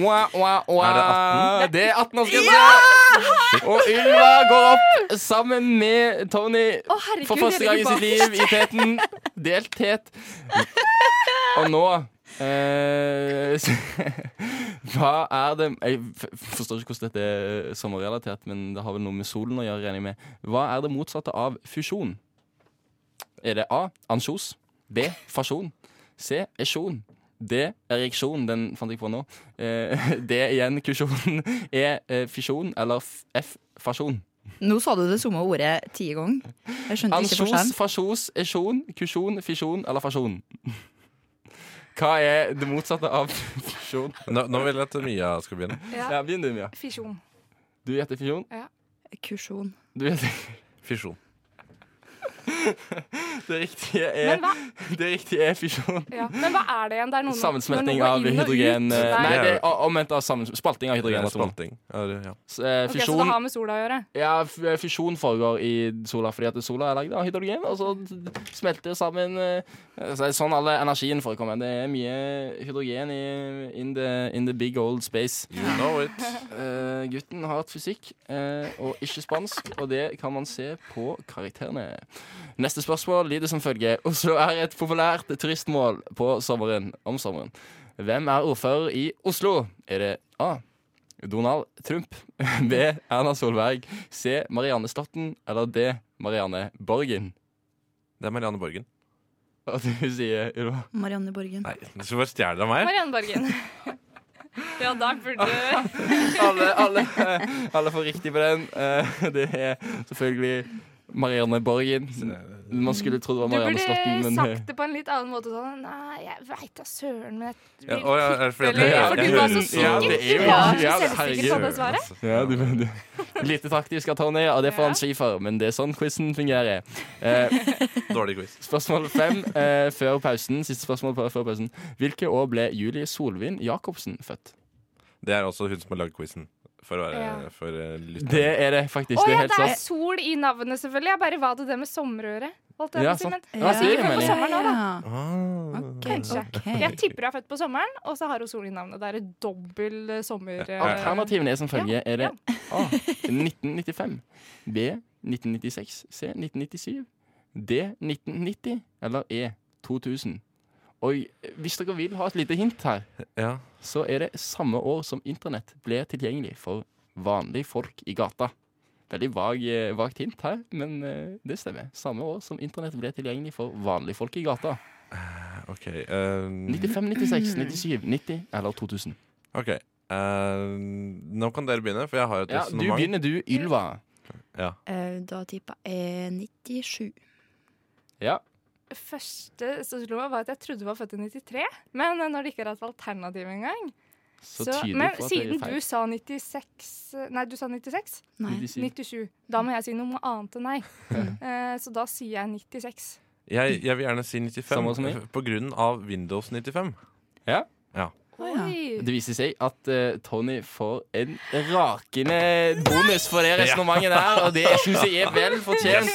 Wah, wah, wah.
Er
Det er 18 år, skal jeg si. Og Ylva går opp sammen med Tony
Å, herregud,
for første
jeg
gang i
ligger
sitt liv i teten. Delt tet. Og nå eh, Hva er det Jeg f- forstår ikke hvordan dette er sommerrelatert, men det har vel noe med solen å gjøre. regner jeg med Hva er det motsatte av fusjon? Er det A. Ansjos? B. Fasjon? C. Esjon? D. Ereksjon. Den fant jeg på nå. Eh, D. Igjen kusjon. E. eh, Fisjon. Eller F. F fasjon.
Nå sa du det samme ordet ti ganger. Jeg skjønte ikke
Ansjos,
forskjellen.
fasjos, esjon, kusjon, fisjon eller fasjon. Hva er det motsatte av fisjon?
Nå, nå vil jeg at Mia skal begynne.
Ja.
Ja, Begynn du, Mia.
Fisjon.
Du gjetter fisjon.
Kursjon.
Du gjetter.
Fisjon.
Det riktige
Men
er,
hva,
det riktige er fisjon.
ja. Men hva er det igjen? Det er noen,
Sammensmelting
noe
av
inn og ut.
hydrogen eh,
Nei.
Nei, det er o- omvendt av sammens- spalting av
Det
hydrogen.
er
altså.
spalting. Ja, det- ja.
S- eh,
Ok, så
Fisjon
det har med sola å gjøre?
Ja, f- fusjon foregår i sola fordi at sola er lagd av hydrogen, og så smelter det sammen eh, så er det Sånn alle energien forekommer. Det er mye hydrogen i, in, the, in the big old space.
You know it.
Eh, gutten har hatt fysikk eh, og ikke spansk, og det kan man se på karakterene. Neste spørsmål lyder som følger. Oslo er et populært turistmål på sommeren, om sommeren. Hvem er ordfører i Oslo? Er det A. Donald Trump. B. Erna Solberg. C. Marianne Stotten. Eller D. Marianne Borgen.
Det er Marianne Borgen.
Hva er det hun sier, Ylva?
Marianne Borgen.
Nei, du skal bare stjele det av meg.
Marianne Borgen. ja, da burde du
alle, alle, alle får riktig på den. Eh, Det er selvfølgelig Marianne Borgen. Man skulle trodd det var
Du
Marianne
burde
Slotten, men eh,
sagt det på en litt annen måte. Sånn Nei, jeg veit da søren, men jeg
Ja, å, ja, er det fordi at
Eller-
jeg-
for
jeg
du var
hører-
så
Ja,
sikker.
det er jo
Du var
ja,
så selvsikker på
herregud.
det svaret.
ja, du, du. Lite taktisk av Tony, og det får han ski for, men det er sånn quizen fungerer. Eh,
Dårlig quiz.
Spørsmål fem eh, før pausen. Siste spørsmål på- før pausen. Hvilke år ble Julie Solvin Jacobsen født?
Det er også hun som har lagd quizen. For å
Ja.
være for eh, lytteren.
Det er det faktisk.
Å
det er
ja,
helt
det er
sant.
sol i navnet, selvfølgelig. Jeg bare hva hadde det med sommer å gjøre? holdt jeg på
Ja,
å si.
sant.
Men
Ja,
jeg er
det
sikkert født
mener
på
jeg.
sommeren nå, da.
Eh, Ja.
Ah.
Kanskje.
Ok.
Jeg tipper hun er født på sommeren, og så har hun sol i navnet. Det er et dobbel eh, sommer... eh,
Alternativene er som følger. Er det
ja.
A. 1995, B. 1996, C. 1997, D. 1990 eller E. 2000. Og hvis dere vil ha et lite hint her,
Ja.
så er det samme år som internett ble tilgjengelig for vanlige folk i gata. Veldig vag, eh, vagt hint her, men eh, det stemmer. Samme år som internett ble tilgjengelig for vanlige folk i gata.
OK. eh,
95, 96, 97, 90 eller 2000.
ok eh, Nå kan dere begynne, for jeg har et
Ja, du
resonnement.
begynner du, Ylva.
Eh, Da tippa jeg 97.
Ja.
Første som slo meg, var at jeg trodde hun var født i 93. Men eh, når det ikke er et alternativ engang
Så,
så-
tydelig
Men
for at det er
siden
feil.
du sa 96 Nei, du sa 96?
Nei.
97.
97. Da må jeg si noe annet enn nei. Eh, Så da sier jeg 96.
Jeg, jeg vil gjerne si
Samme som
95
meg.
f- på grunn av Windows 95.
Å, ja.
Det viser seg at eh, Tony får en rakende bonus for det resonnementet der, og det syns jeg er vel fortjent.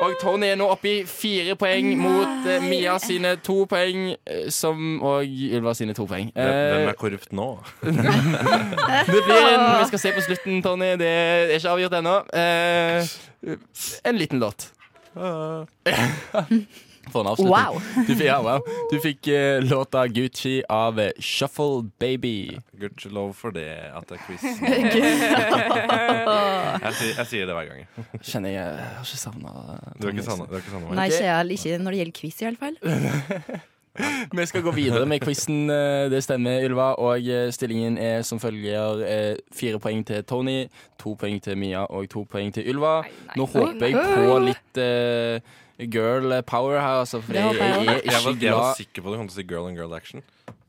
Og Tony er nå oppe i fire poeng mot eh, Mia sine to poeng, eh, som og Ylva sine to poeng.
Hvem
Eh,
hvem er korrupt nå?
det blir en, Vi skal se på slutten, Tony. Det er ikke avgjort ennå. Eh, en liten låt.
Ah.
For en avslutning.
Wow.
Du, fikk- ja, wow. du fikk eh, låta Gucci av eh, Shuffle Baby.
Gudskjelov for det at det er quiz. nå. Jeg, sier- jeg sier det hver gang. jeg.
Kjenner jeg, jeg har ikke savna
Du er ikke sanne, du er ikke sanne
Nei,
Ok.
ikke, jeg- ikke når det gjelder quiz, i alle fall.
Vi skal gå videre med quizen. eh, Det stemmer, Ylva. Og eh, stillingen er som følger eh, fire poeng til Tony, to poeng til Mia og to poeng til Ylva. Nå håper jeg på litt eh, girl power her, altså, for
Det
jeg,
håper jeg
jeg er
Jeg
ikke
var, jeg var
glad.
sikker på at du kom til å si girl and girl action.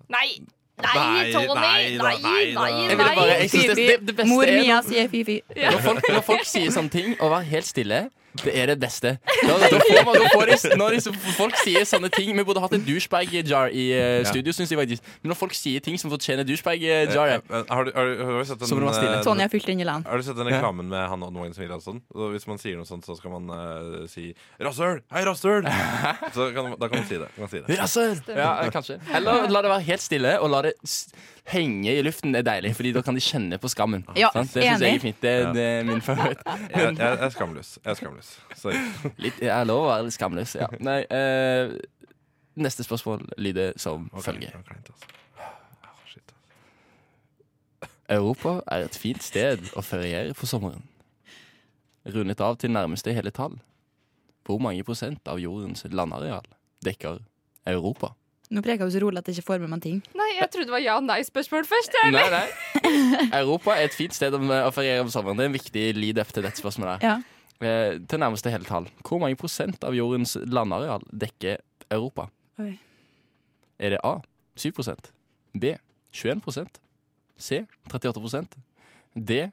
Nei! Nei,
Nei,
Tony!
nei
Nei,
da,
nei,
nei da.
nei!
Jeg ville bare, jeg synes det, det, det beste
Mor
er
Mia sier fy-fy.
når folk, når folk sier sånne ting, å være helt stille, det er det beste. Da, da får man, da får de, når de, folk sier sånne ting Vi burde hatt en douchebag jar i eh, studio, synes jeg faktisk. Men når folk sier ting som fortjener douchebag jar,
Eh, eh, Har du, har du, har du sett den
Så må du være stille.
eh,
Tonje har fylt inn i land.
Har du sett den reklamen med han Odd Magnus Wilhelmsen? Og Hvis man sier noe sånt, sånn? så skal man eh, si 'Rasshøl! Hei, rasshøl!' Så kan, da kan man si det. Kan man si det.
Ja, eh, kanskje. altså! Eller la det være helt stille, og la det s- henge i luften er deilig, Fordi da kan de kjenne på skammen.
Ja,
sant? Det synes jeg
enig.
er fint. Det, det er min favoritt.
Jeg, jeg, jeg er skamløs. Jeg er skamløs. Sorry.
Litt, jeg er lov å være litt skamløs. Ja. Nei, eh, neste spørsmål lyder som
Ok,
følger.
det var kleint, altså. Ah, shit, altså.
Europa er et fint sted å feriere på sommeren. Rundet av til nærmeste hele tall. Hvor mange prosent av jordens landareal dekker Europa?
Nå preker hun så rolig at jeg ikke får med meg ting.
Nei, jeg trodde det var ja- og nei-spørsmål først. Jeg.
Nei, nei. Europa er et fint sted å å feriere på sommeren. Det er en viktig lead-up til dette spørsmålet. her.
Ja.
Eh, til nærmeste hele tall. Hvor mange prosent av jordens landareal dekker Europa?
Oi.
Er det A 7 prosent, B 21 prosent, C 38 prosent, D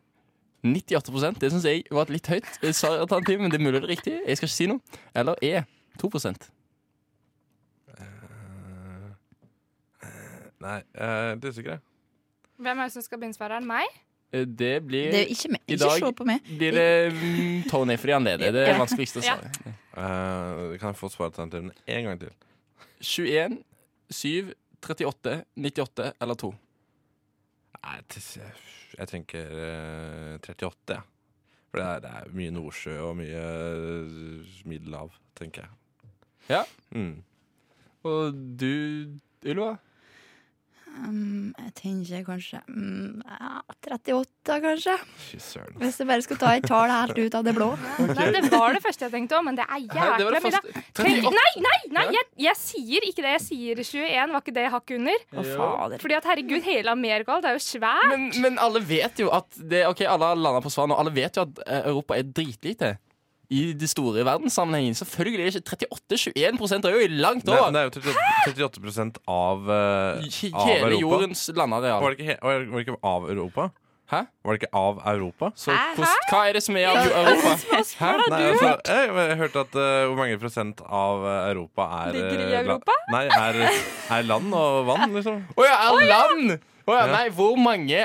98 prosent? Det syns jeg var et litt høyt eh, svar- alternativ, men det er mulig det er riktig. Jeg skal ikke si noe. Eller E 2 prosent.
Eh, Nei, jeg er litt usikker, jeg.
Hvem er det som skal begynne svaret? Er det meg?
Eh, Det blir
Det er ikke meg.
I
Ikke
dag-
se på meg.
blir det mm, Tony fordi han leder. Det er det vanskeligste
Ja.
svaret.
Eh, kan jeg få svaralternativene én gang til?
21, 7, 38, 98 eller 2.
Nei, t- jeg tenker eh, 38, jeg. For det er, det er mye Nordsjø og mye eh, Middelhav, tenker jeg.
Ja.
Mm.
Og du, Ylva?
Um, jeg tenker kanskje um, ja, 38, kanskje.
Fy søren.
Hvis jeg bare skulle ta et tall helt ut av det blå.
Nei, det var det første jeg tenkte òg, men det er
Hæ, det var
jækla
det
mye. da.
første.
Tenk-
38.
Nei, nei, nei! Jeg, jeg sier ikke det. Jeg sier 21, var ikke det hakket under?
Å, fader.
Fordi at herregud, hele Amerika det er jo svært.
Men, men alle vet jo at det, Ok, alle har landet på svar nå. Alle vet jo at eh, Europa er dritlite. I det store verdenssammenhengen. Selvfølgelig er det ikke 38-21 er jo langt
Det,
over.
det er jo 38 prosent av, eh, av
Hele
Europa.
jordens landareal.
Var det, ikke he var det ikke av Europa?
Hæ?
Var det ikke av Europa?
Så hvordan- hva er det som er av Europa? Hæ?
Nei, altså, jeg, jeg hørte at eh, hvor mange prosent av eh, Europa er
Ligger i
eh, la-
Europa?
Nei, er, er land og vann, liksom.
Å ja, er land! Å ja, nei, hvor mange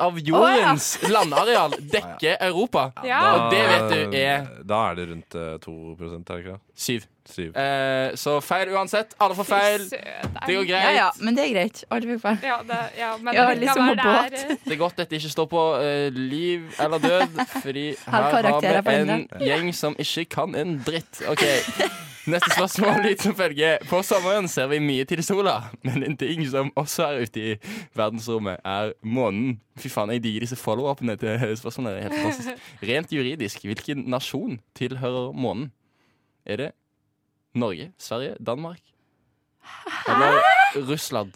av jordens landareal dekker Europa.
Ja.
Og det vet du er
Da er det rundt eh, 2 er det ikke det?
syv.
Syv.
Eh, så feil uansett. Alle får feil. Det går greit.
Ja, ja, men det er greit. Alle fikk feil.
Ja, det, ja, men
Ja,
det kan
liksom
være
på
det er,
Det er godt dette ikke står på eh, liv eller død, fordi her
karakterer
har
på
vi en gjeng som ikke kan en dritt. OK. Neste spørsmål lyder som følger. På sommeren ser vi mye til sola, men en ting som også er ute i verdensrommet, er månen. Fy faen, jeg digger disse follow-upene til spørsmålene. Det er Helt fantastisk. Rent juridisk, hvilken nasjon tilhører månen? Er det Norge, Sverige, Danmark? Eller Russland?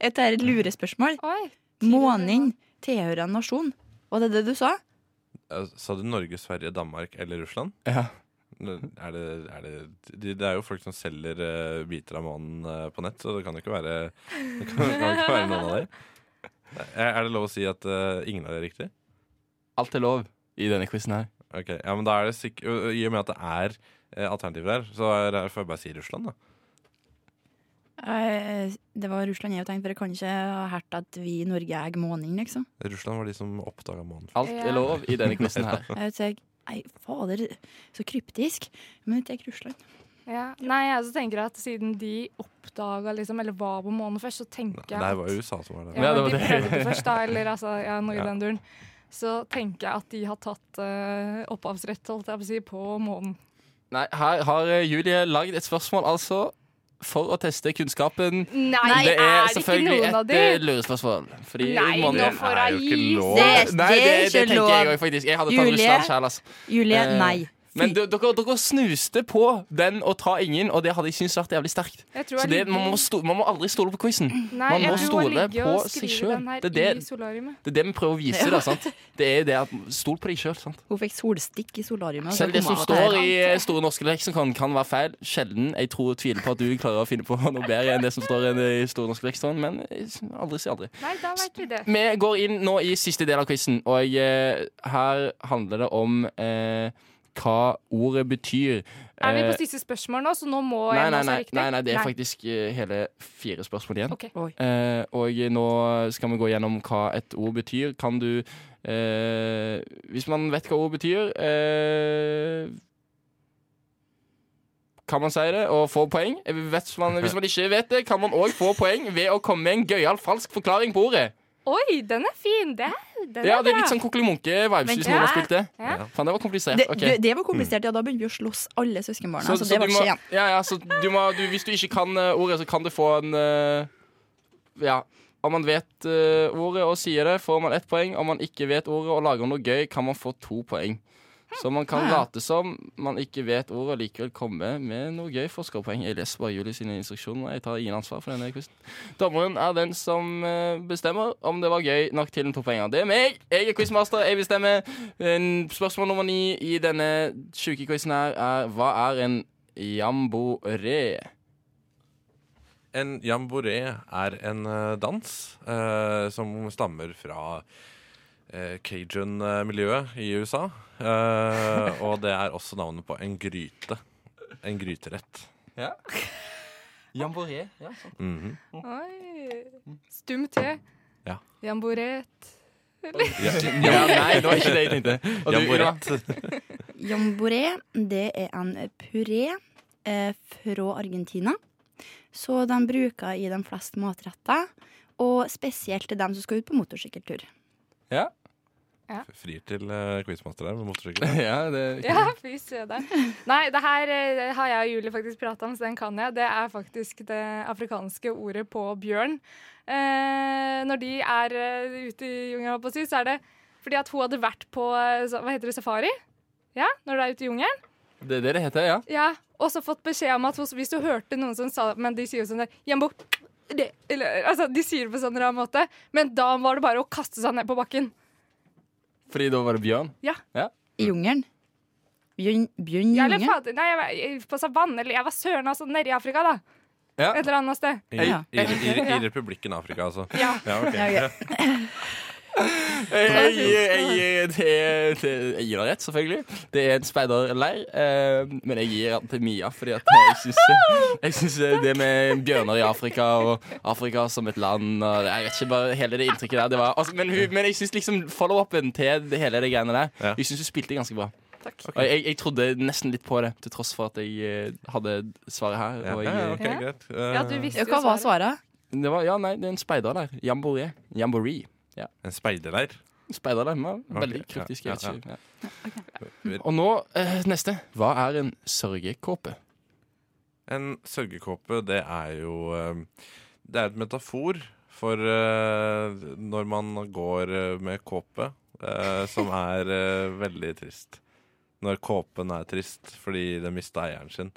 Dette er et lurespørsmål.
Oi.
Månen tilhører en nasjon. Var det det du sa?
Eh, Sa du Norge, Sverige, Danmark eller Russland?
Ja.
Er det, er det, de- det er jo folk som selger eh, biter av månen eh, på nett, så det kan jo ikke være, det kan, det kan ikke være noen av dem. Er er det lov å si at eh, ingen av det er riktig?
Alt er lov i denne quizen her.
Ok, ja, men da er det sikk- ø- ø- I og med at det er eh, alternativer her, så er det, får jeg bare si Russland, da.
Eh, Det var Russland jeg tenkte, for jeg kan ikke ha hørt at vi i Norge eier månen, liksom.
Russland var de som oppdaga månen.
Alt er
Ja.
lov i denne quizen her.
Jeg vet ikke, Nei, fader, så kryptisk. Men det er ikke Russland.
Ja. Nei, jeg også tenker at siden de oppdaga liksom, eller var på månen først, så tenker
Det
jeg
her
at
var jo USA som var det.
ja,
Ja, det
men
var
de
det.
prøvde først, da, eller altså, ja, noe
Ja.
i den duren. Så tenker jeg at de har tatt eh, opphavsrett, holdt jeg på å si, på månen.
Nei, her har eh, Julie lagd et spørsmål, altså. For å teste kunnskapen.
Nei,
det er, selvfølgelig
ikke noen av
et
de?
eh, lurespørsmål. Fordi
Nei,
månen-
nå får
er
jeg
jo ikke
gi.
lov.
Det er,
Nei, det, det
ikke
tenker jeg
lov.
òg, faktisk. Jeg hadde tatt
Julie.
Russland sjøl, altså.
Julie,
Eh,
nei.
Men d- dere, dere snuste på den å ta ingen, og det hadde jeg syntes vært jævlig sterkt.
Jeg tror
Så
jeg
det,
ligger-
man, må sto, man må aldri stole på quizen.
Nei,
man
jeg
må
tror jeg
stole
ligger
på
og
seg
skriver
selv.
den her
Det er det-
i solariumet.
Det er det vi prøver å vise. Da, sant? Det er jo det at Stol på deg sjøl.
Hun fikk solstikk i solariumet. og så
Selv det
kom
som
hun på
står
her.
i eh, Store norske leksikon kan være feil. Sjelden jeg tror tviler på at du klarer å finne på noe bedre enn det som står i Store norske leksikon, men eh, aldri si aldri.
Nei, da vet vi det.
Vi går inn nå i siste del av quizen, og eh, her handler det om eh, hva ordet betyr.
Er vi
Eh,
på siste spørsmål nå, så nå må
nei,
jeg
nei, nei,
være riktig?
nei, nei, det er faktisk eh, hele fire spørsmål igjen.
Ok.
Eh, og nå skal vi gå gjennom hva et ord betyr. Kan du eh, Hvis man vet hva ord betyr, eh, kan man si det og få poeng? Eh, Vet man, hvis man ikke vet det, kan man òg få poeng ved å komme med en gøyal falsk forklaring på ordet.
Oi, den er fin! Det er, den
Ja,
er
det er
bra.
litt sånn Kokkeli Munke-vibes
Men-
hvis noen har
Ja.
spilt det.
Ja.
Faen, det var komplisert.
Det,
Ok. Mm.
det, det var komplisert, ja. Da begynte vi å slåss, alle søskenbarna. Så, altså. det
du
var
må,
skjeen.
ja, ja, så du må, du, hvis du ikke kan eh, ordet, så kan du få en eh, Ja. Om man vet eh, ordet og sier det, får man ett poeng. Om man ikke vet ordet og lager noe gøy, kan man få to poeng. Så man kan
Ja, ja.
late som man ikke vet ordet, og likevel komme med noe gøy forskerpoeng. Jeg leser bare Julie sine instruksjoner. Jeg tar ingen ansvar for denne quizen. Dommeren er den som eh, bestemmer om det var gøy nok til en to poenger. Det er meg! Jeg er quizmaster, jeg bestemmer. En- Spørsmål nummer ni i denne sjuke quizen her er hva er en jamboree?
En jamboree er en eh, dans eh, som stammer fra eh, cajun-miljøet i USA. Eh, og det er også navnet på en gryte. En gryterett.
Jamboree, ja, sant.
Mhm.
Oi. Stum te.
Ja.
Jamboret.
ja,
Ja, nei, det var ikke det jeg tenkte. Og du, Ida?
jamboree.
Jamboree, det er en puré eh, fra Argentina. Så de bruker i de fleste matretter. Og spesielt til dem som skal ut på motorsykkeltur.
Frir til uh, quizmaster der med motorsykkel.
Ja, det
Ja, fy søder. Nei, det her eh, har jeg og Julie faktisk prata om, så den kan jeg. Det er faktisk det afrikanske ordet på bjørn. Eh, når de er eh, ute i jungelen, holdt på å si, så er det fordi at hun hadde vært på eh, så- hva heter det, safari. Ja, når du er ute i jungelen.
det er det det heter, ja.
Ja, og så fått beskjed om at hos- hvis du hørte noen som sa Men de sier jo sånn der Jambo, det, eller, altså, De sier det på sånn rar måte, men da var det bare å kaste seg ned på bakken.
Fordi da var det bjørn. Mm.
I jungelen. Bjørn, bjørn
Jeg, eller,
junge.
fader, nei, jeg var jeg- på savann, eller jeg var søren altså nede i Afrika, da.
Ja.
Et eller annet sted.
I,
Ja.
i, i, I Republikken Afrika, altså.
Ja.
Ja, ok.
Ja, ok.
Jeg, jeg, jeg, det- det- jeg gir deg rett, selvfølgelig. Det er en speiderleir. eh, Men jeg gir den til Mia, fordi at jeg syns- jeg syns det med bjørner i Afrika og Afrika som et land og det- Jeg vet ikke, bare hele det inntrykket der. Det var, altså, men, hun, men jeg syns liksom follow-upen til det- hele det greiene der
Ja.
Jeg syns hun spilte ganske bra. Og jeg, jeg trodde nesten litt på det, til tross for at jeg eh, hadde svaret her.
Ja,
Og
ja, ja,
jeg, eh,
ok, greit.
Ja, du
Eh,
visste
Ja,
jo
hva var svaret?
det var, ja, nei, det er en speiderleir. Jamboree. Jamboree.
en speiderleir.
Speiderleir. den var Veldig
Ok, ja,
kryptisk.
ja,
jeg vet ikke. Ja.
Mm.
Og nå, eh, neste. Hva er en sørgekåpe?
En sørgekåpe, det er jo eh, Det er et metafor for eh, når man går eh, med kåpe, eh, som er eh, veldig trist. Når kåpen er trist fordi den mista eieren sin.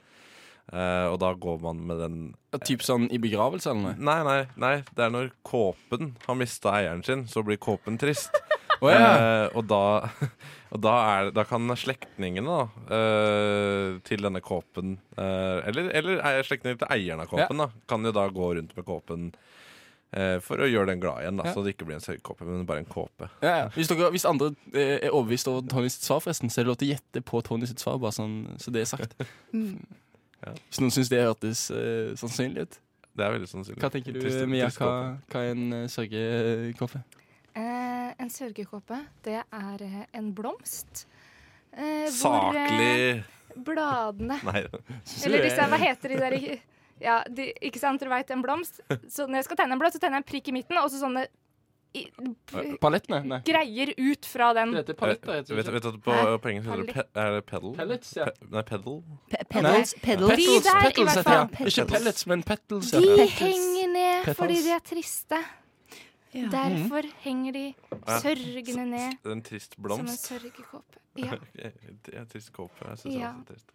Eh, og da går man med den
Typ sånn i begravelse eller noe?
Nei, nei, nei. Det er når kåpen har mista eieren sin, så blir kåpen trist.
Å ja.
Eh, og da, og da, er, da kan slektningene da, eh, til denne kåpen eh, Eller, eller er slektningene til eieren av kåpen da, kan jo da gå rundt med kåpen eh, for å gjøre den glad igjen. Da,
Ja.
Så det ikke blir en sørgekåpe, men bare en kåpe.
Ja, ja. Hvis, dere, hvis andre eh, er overbevist over Tony sitt svar, forresten, så er det lov til å gjette på Tony sitt svar. Bare sånn, så det er sagt. Mm. Hvis noen syns det hørtes eh, sannsynlig ut.
Det er veldig sannsynlig.
Hva tenker du,
Trist-
Mia?
trist
Hva,
kåpe.
hva er en eh, sørgekåpe?
Eh, en sørgekåpe, det er eh, en blomst. Eh, hvor, eh,
Saklig
bladene
Nei.
Eller disse, hva heter de der i- ja, de, Ikke sant, dere veit, en blomst. Så når jeg skal tegne en blomst, så tegner jeg en prikk i midten, og så sånne i, p-
Palettene? Nei.
greier ut fra den.
Det heter
Vet,
paletter, heter det
vet
ikke?
du at på,
Hæ?
på engelsk heter det pe er det pedal?
Pellets, ja.
Pe nei, pedal?
Pe- Pedals? Pedals?
De der, i
Petals
hvert
heter det,
fall.
ja. Ikke pellets, men petals.
De
Ja.
henger ned
Petals.
fordi de er triste.
Ja.
Derfor henger de sørgende ned
En trist
som en
blomst?
sørgekåpe. Ja,
Det er trist kåpe. Jeg synes det
Ja.
er så trist.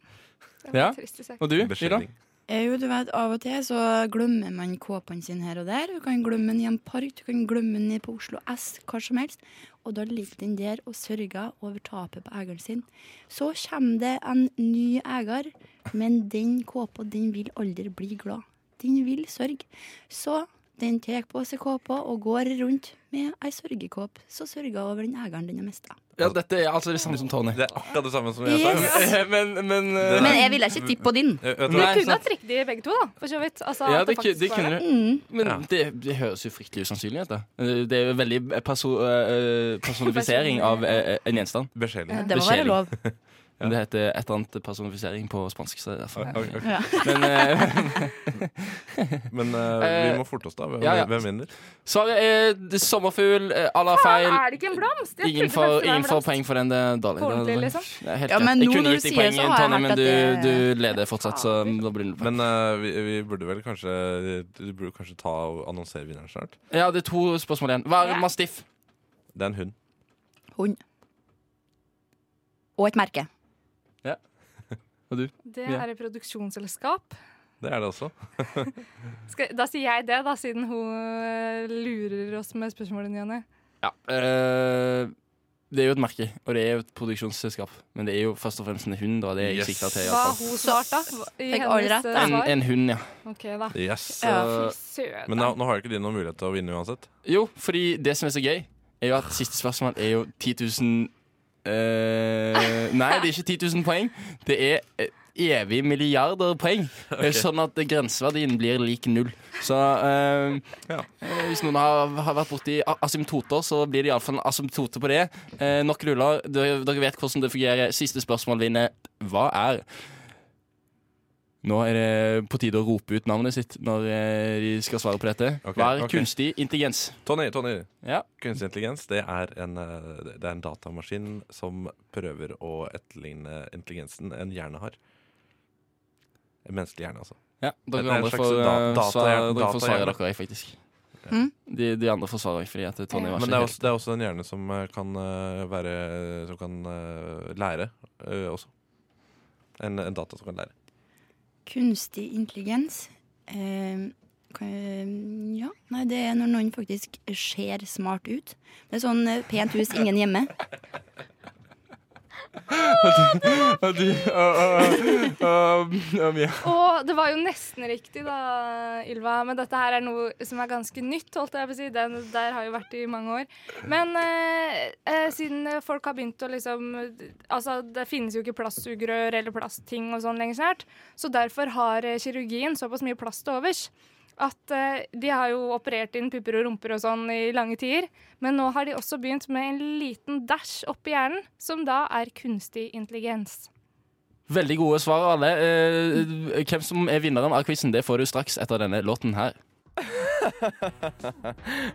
det var
Ja.
en trist sak.
Og du, Ida?
Beskjedning.
Eh, Jo, du vet, Av og til så glemmer man kåpene sine her og der. Du kan glemme den i en park, du kan glemme den på Oslo S, hva som helst. Og da ligger den der og sørger over tapet på eieren sin. Så kommer det en ny eier, men den kåpa den vil aldri bli glad. Den vil sørge. Så den tar på seg kåpa og går rundt med ei sørgekåp, så sørger hun over den eieren den har mista.
Ja, dette er altså det samme som Tony.
Det er akkurat det samme som jeg sa.
Yes.
Eh, Men, men eh,
Det der-
Men jeg ville ikke tippe på din.
Eh, Vet du
Vi
hva?
Nei,
kunne
sant.
hatt riktig begge to, da. For så vidt. Altså,
Ja,
at
det, ku-
faktisk
det
var
kunne
det.
det. Men
Ja.
det, det høres jo fryktelig usannsynlig ut. da. Eh, Det er jo veldig eh, perso eh, personifisering av eh, eh, en gjenstand.
Beskjedning.
Det må
Beskjedelig.
være lov.
Men Det heter et eller annet personifisering på spansk. Så det er derfor.
Ok, ok.
Men eh,
Men eh,
Eh,
vi må forte oss, da. Hvem,
ja, ja.
hvem vinner?
svaret er d- sommerfugl. eh, Alle har feil.
Ah, Er det ikke en blomst? Jeg
Ingen
trodde
får,
faktisk det var en
ingen får
blomst.
poeng for den. Det er dårlig.
På
Det er-
ordentlig, liksom?
Det er helt
Ja,
greit.
men
jeg
nå
kunne
når
gitt
du
deg
sier
poeng
så
igjen,
har jeg
Tonje,
hørt
men
at
du,
det-
du leder fortsatt, så da blir det null poeng.
Men eh, vi, vi burde vel kanskje Du burde kanskje ta og annonsere vinneren snart.
Ja, det er to spørsmål igjen. Hva er
Ja.
mastiff?
Det er en hund.
Hund. Og et merke.
Det
Ja.
er et produksjonsselskap.
Det er det også.
Skal, da sier jeg det, da, siden hun øh, lurer oss med spørsmålet, Janne.
Ja. eh, det er jo et merke, og det er jo et produksjonsselskap. Men det er jo først og fremst en hund. Da. Det er jeg
Yes.
sikta til. i
Hva
alle fall.
hun svarte, da? I
Fikk alle
hennes
rett,
øh,
da.
En,
svar?
en Eh, hund, ja.
OK, da.
Yes.
Fy
Så,
søren.
Men nå, nå har jo ikke de noen mulighet til å vinne uansett.
jo, fordi det som er så gøy, er jo at siste spørsmål er jo 10 000 eh, Nei, det er ikke 10 000 poeng. Det er eh, evig milliarder poeng. Eh, Sånn at grenseverdien blir lik null. Så eh,
Ja.
eh, hvis noen har, har vært borti a- asymptoter, så blir det iallfall en asymptote på det. Eh, nok ruller. Dere, dere vet hvordan det fungerer. Siste spørsmål vinner. Hva er Nå er det på tide å rope ut navnet sitt når eh, de skal svare på dette.
Ok,
Hva er
ok.
kunstig intelligens?
Tony, Tony.
Ja.
Kunstig intelligens det er, en, eh, det er en datamaskin som prøver å etterligne intelligensen en hjerne har. En menneskelig hjerne, altså.
Ja,
Det
dere
er en
andre
slags
får,
da-
eh, svare-
datahjerne-
dere får svare
datahjerne.
dere, faktisk.
Mm.
De, de andre får svare dere, fordi at Tonje var
Men
ikke
det er,
helt
også, det er også en hjerne som eh, kan eh, være Som kan eh, lære eh, også. En, en data som kan lære.
Kunstig intelligens. Eh, kan- ja, nei, det er når noen faktisk ser smart ut. Det er sånn eh, pent hus, ingen hjemme.
Og du og, og, og, og Mia.
Og det var jo nesten riktig, da, Ylva. Men dette her er noe som er ganske nytt, holdt jeg på å si. Den der har jo vært i mange år. Men eh, eh, siden folk har begynt å liksom Altså, det finnes jo ikke plastsugerør eller plastting og sånn lenger snart. Så derfor har eh, kirurgien såpass mye plast til overs. At eh, de har jo operert inn pupper og rumper og sånn i lange tider. Men nå har de også begynt med en liten dash oppi hjernen, som da er kunstig intelligens.
Veldig gode svar, alle. Eh, hvem som er vinneren av quizen, det får du straks etter denne låten her.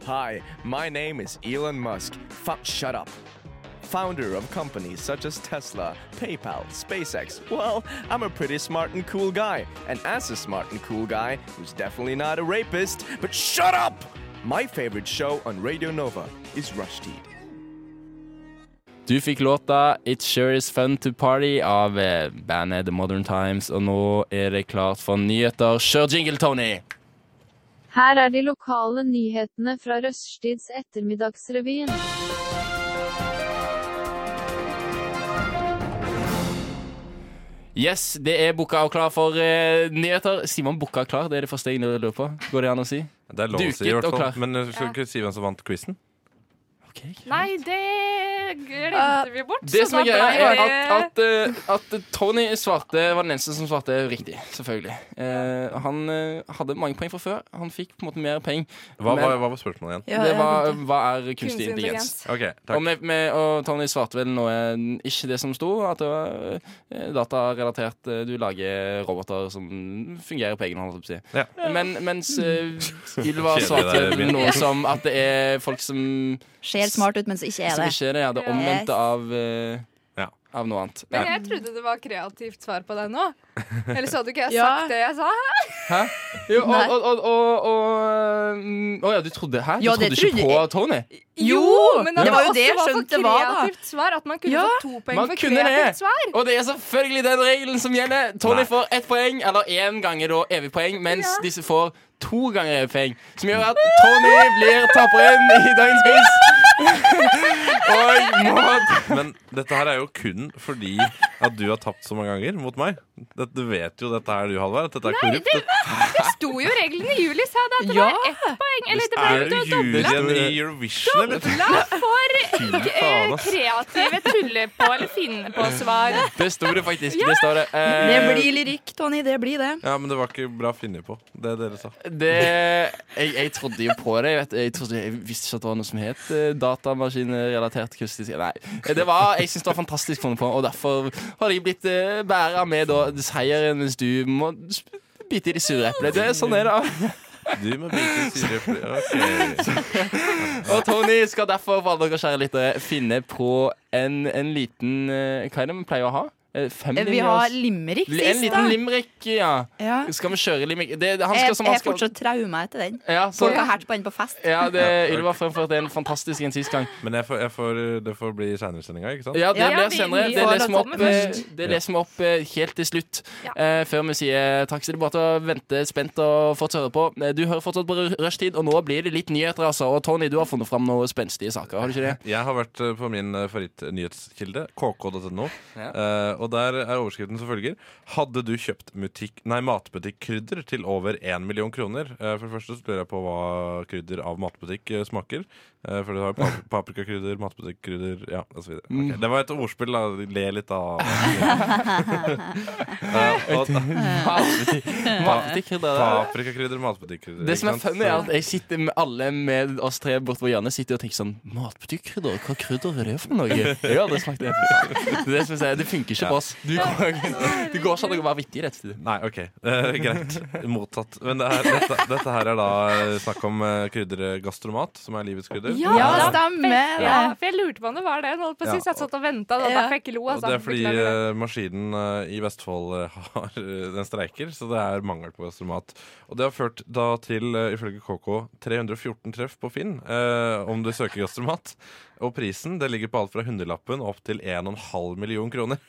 Hi, my name is Elon Musk. Fuck, shut up. Founder of companies such as Tesla, PayPal, SpaceX. Well, I'm a pretty smart and cool guy. And as a smart and cool guy, who's definitely not a rapist, but shut up! My favorite show on Radio Nova is Rushdie.
Du fikk låta It Sure Is Fun To Party av eh, bandet The Modern Times, og nå er det klart for nyheter. Kjør jingle, Tony!
Her er de lokale nyhetene fra Røststids ettermiddagsrevyen.
Yes, det er booka og klar for eh, nyheter. Sier man booka og klar? Det er det første jeg lurer på. Går det an å si?
Det er lov å si, i
Duket
hvert
og
fall.
klar.
Men jeg skal ikke si hvem som vant quizen.
Ok.
Nei, det glemte vi bort.
Det
så
som er
da
greia,
ble
er
det-
at, at, eh, at Tony svarte var den eneste som svarte riktig. Selvfølgelig. Eh, han eh, hadde mange poeng fra før. Han fikk på en måte mer poeng.
Hva,
Men-
hva, hva var spørsmålet igjen?
Ja,
det
jeg
var
venter.
Hva er kunstig intelligens?
OK,
Og,
takk.
med, med, og Tony svarte vel noe ikke det som sto, at det var eh, datarelatert eh, Du lager roboter som fungerer på egen hånd, holdt jeg på å si.
Ja.
Men mens eh, Ylva
Kjedelig
svarte
der, Emil.
noe som at det er folk som,
Ser smart ut, men så ikke er
som
det.
ikke er det. Ja, det
Ja.
Yes.
omvendte av, eh,
Ja.
av noe annet.
Men jeg trodde det var kreativt svar på deg nå. Eller så hadde ikke jeg
Ja.
sagt det jeg sa.
Hæ? Jo, og,
Nei.
og, og, og, og mm, Å ja, du trodde Hæ? Du
Ja, det
trodde ikke
trodde
på
jeg.
Tony?
Jo,
men
det var jo
også
det jeg
for
skjønte det var, da.
kreativt svar. At man kunne
Ja.
få to poeng
Man
for
kunne det.
kreativt svar.
Og det er selvfølgelig den regelen som gjelder. Tony
Nei.
får ett poeng, eller én ganger da evig poeng, mens
Ja.
disse får to ganger evig poeng. Som gjør at Tony blir taperen i dagens quiz. og må
Men dette her er jo kun fordi at du har tapt så mange ganger mot meg. Det- Du vet jo dette her, du, Halvard. At dette er korrupt.
Det sto jo reglene i juli, sa det. At det
Ja.
var ett poeng. Eller det
er
ble
jo
jo
juryen i Eurovision, eller?
dobla for eh,
Fy faen, ass.
kreative tulle på eller finne på svar.
Det sto det faktisk. Det står det. Eh,
Det blir lyrikk, Tony. Det blir det.
Ja, men det var ikke bra funnet på, det dere sa.
det jeg, jeg trodde jo på det. Jeg, vet, jeg, trodde, jeg visste ikke at det var noe som het eh, datamaskinrelatert kunstig Nei. Det var, jeg syns det var fantastisk funnet på, og derfor har jeg blitt eh, bæra med da, seieren, mens du må sp- bite i det sure eplet. Det er Sånn er det.
Du må bruke syre okay.
Og Tony skal derfor for alle dere kjære lyttere finne på en, en liten eh, Hva er det vi pleier å ha? Eh, Fem
Vi
linjer?
har limerick
Li- en
sist, da.
liten limerick, ja.
Ja.
Skal vi kjøre limerick? Det, han
Jeg
skal, som han
jeg er
skal,
fortsatt trauma etter den.
ja, så,
Folk har hert på den på fest.
ja, det, Ylva fremførte en fantastisk en sist gang.
Men jeg får, jeg får, det får bli seinere i sendinga, ikke sant?
Ja, det
Ja,
blir
vi-
senere.
vi
Det
får
leser vi
ta
opp,
med
eh,
først.
det leser vi opp eh, helt til slutt.
Ja.
Eh, før vi sier takk, så det er bare til å vente spent og fortsatt høre på. Eh, Du hører fortsatt på Ru- Rushtid, og nå blir det litt nyheter, altså. Og Tony, du har funnet fram noen spenstige saker, har du ikke det?
Jeg har vært eh, på min eh, favorittnyhetskilde, kk.no,
Ja.
eh, og der er overskriften som følger. Hadde du kjøpt mutikk, nei, matbutikkrydder til over 1 million kroner? Eh, For det første så lurer jeg på hva krydder av matbutikk eh, smaker. Eh, For du har jo pap- paprikakrydder, matbutikkrydder, ja, osv.
Mm.
Okay. Det var et ordspill, da. Le litt av Eh, og
Matbutikk. Matbutikk, det er det.
Paprikakrydder, matbutikkrydder.
Det som er
ikke sant?
funny, er at jeg sitter med alle med oss tre borte på hjørnet sitter og tenker sånn Matbutikkrydder? Hva krydder er det for noe? Jeg har aldri smakt det. Det er som jeg sier, det funker ikke på oss. Du, går- det går ikke an å være vittig i dette stedet.
Nei, ok. Eh, greit. Mottatt. Men det her, dette, dette her er da eh, snakk om eh, krydderet gastromat, som er livets krydder.
Ja,
Ja,
da-
stemmer.
Ja, for jeg lurte på om det var det. Hun holdt på å si,
Ja.
så jeg satt og venta, og da
Ja.
fikk jeg lo.
Og
Altså.
det er fordi
Beklager det.
eh, maskinen eh, i Vestfold eh, har eh, Den streiker, så det er mangel på gastromat. Og det har ført da til, eh, ifølge KK, 314 treff på Finn eh, om du søker gastromat. Og prisen det ligger på alt fra hundrelappen opp til 1,5 million kroner.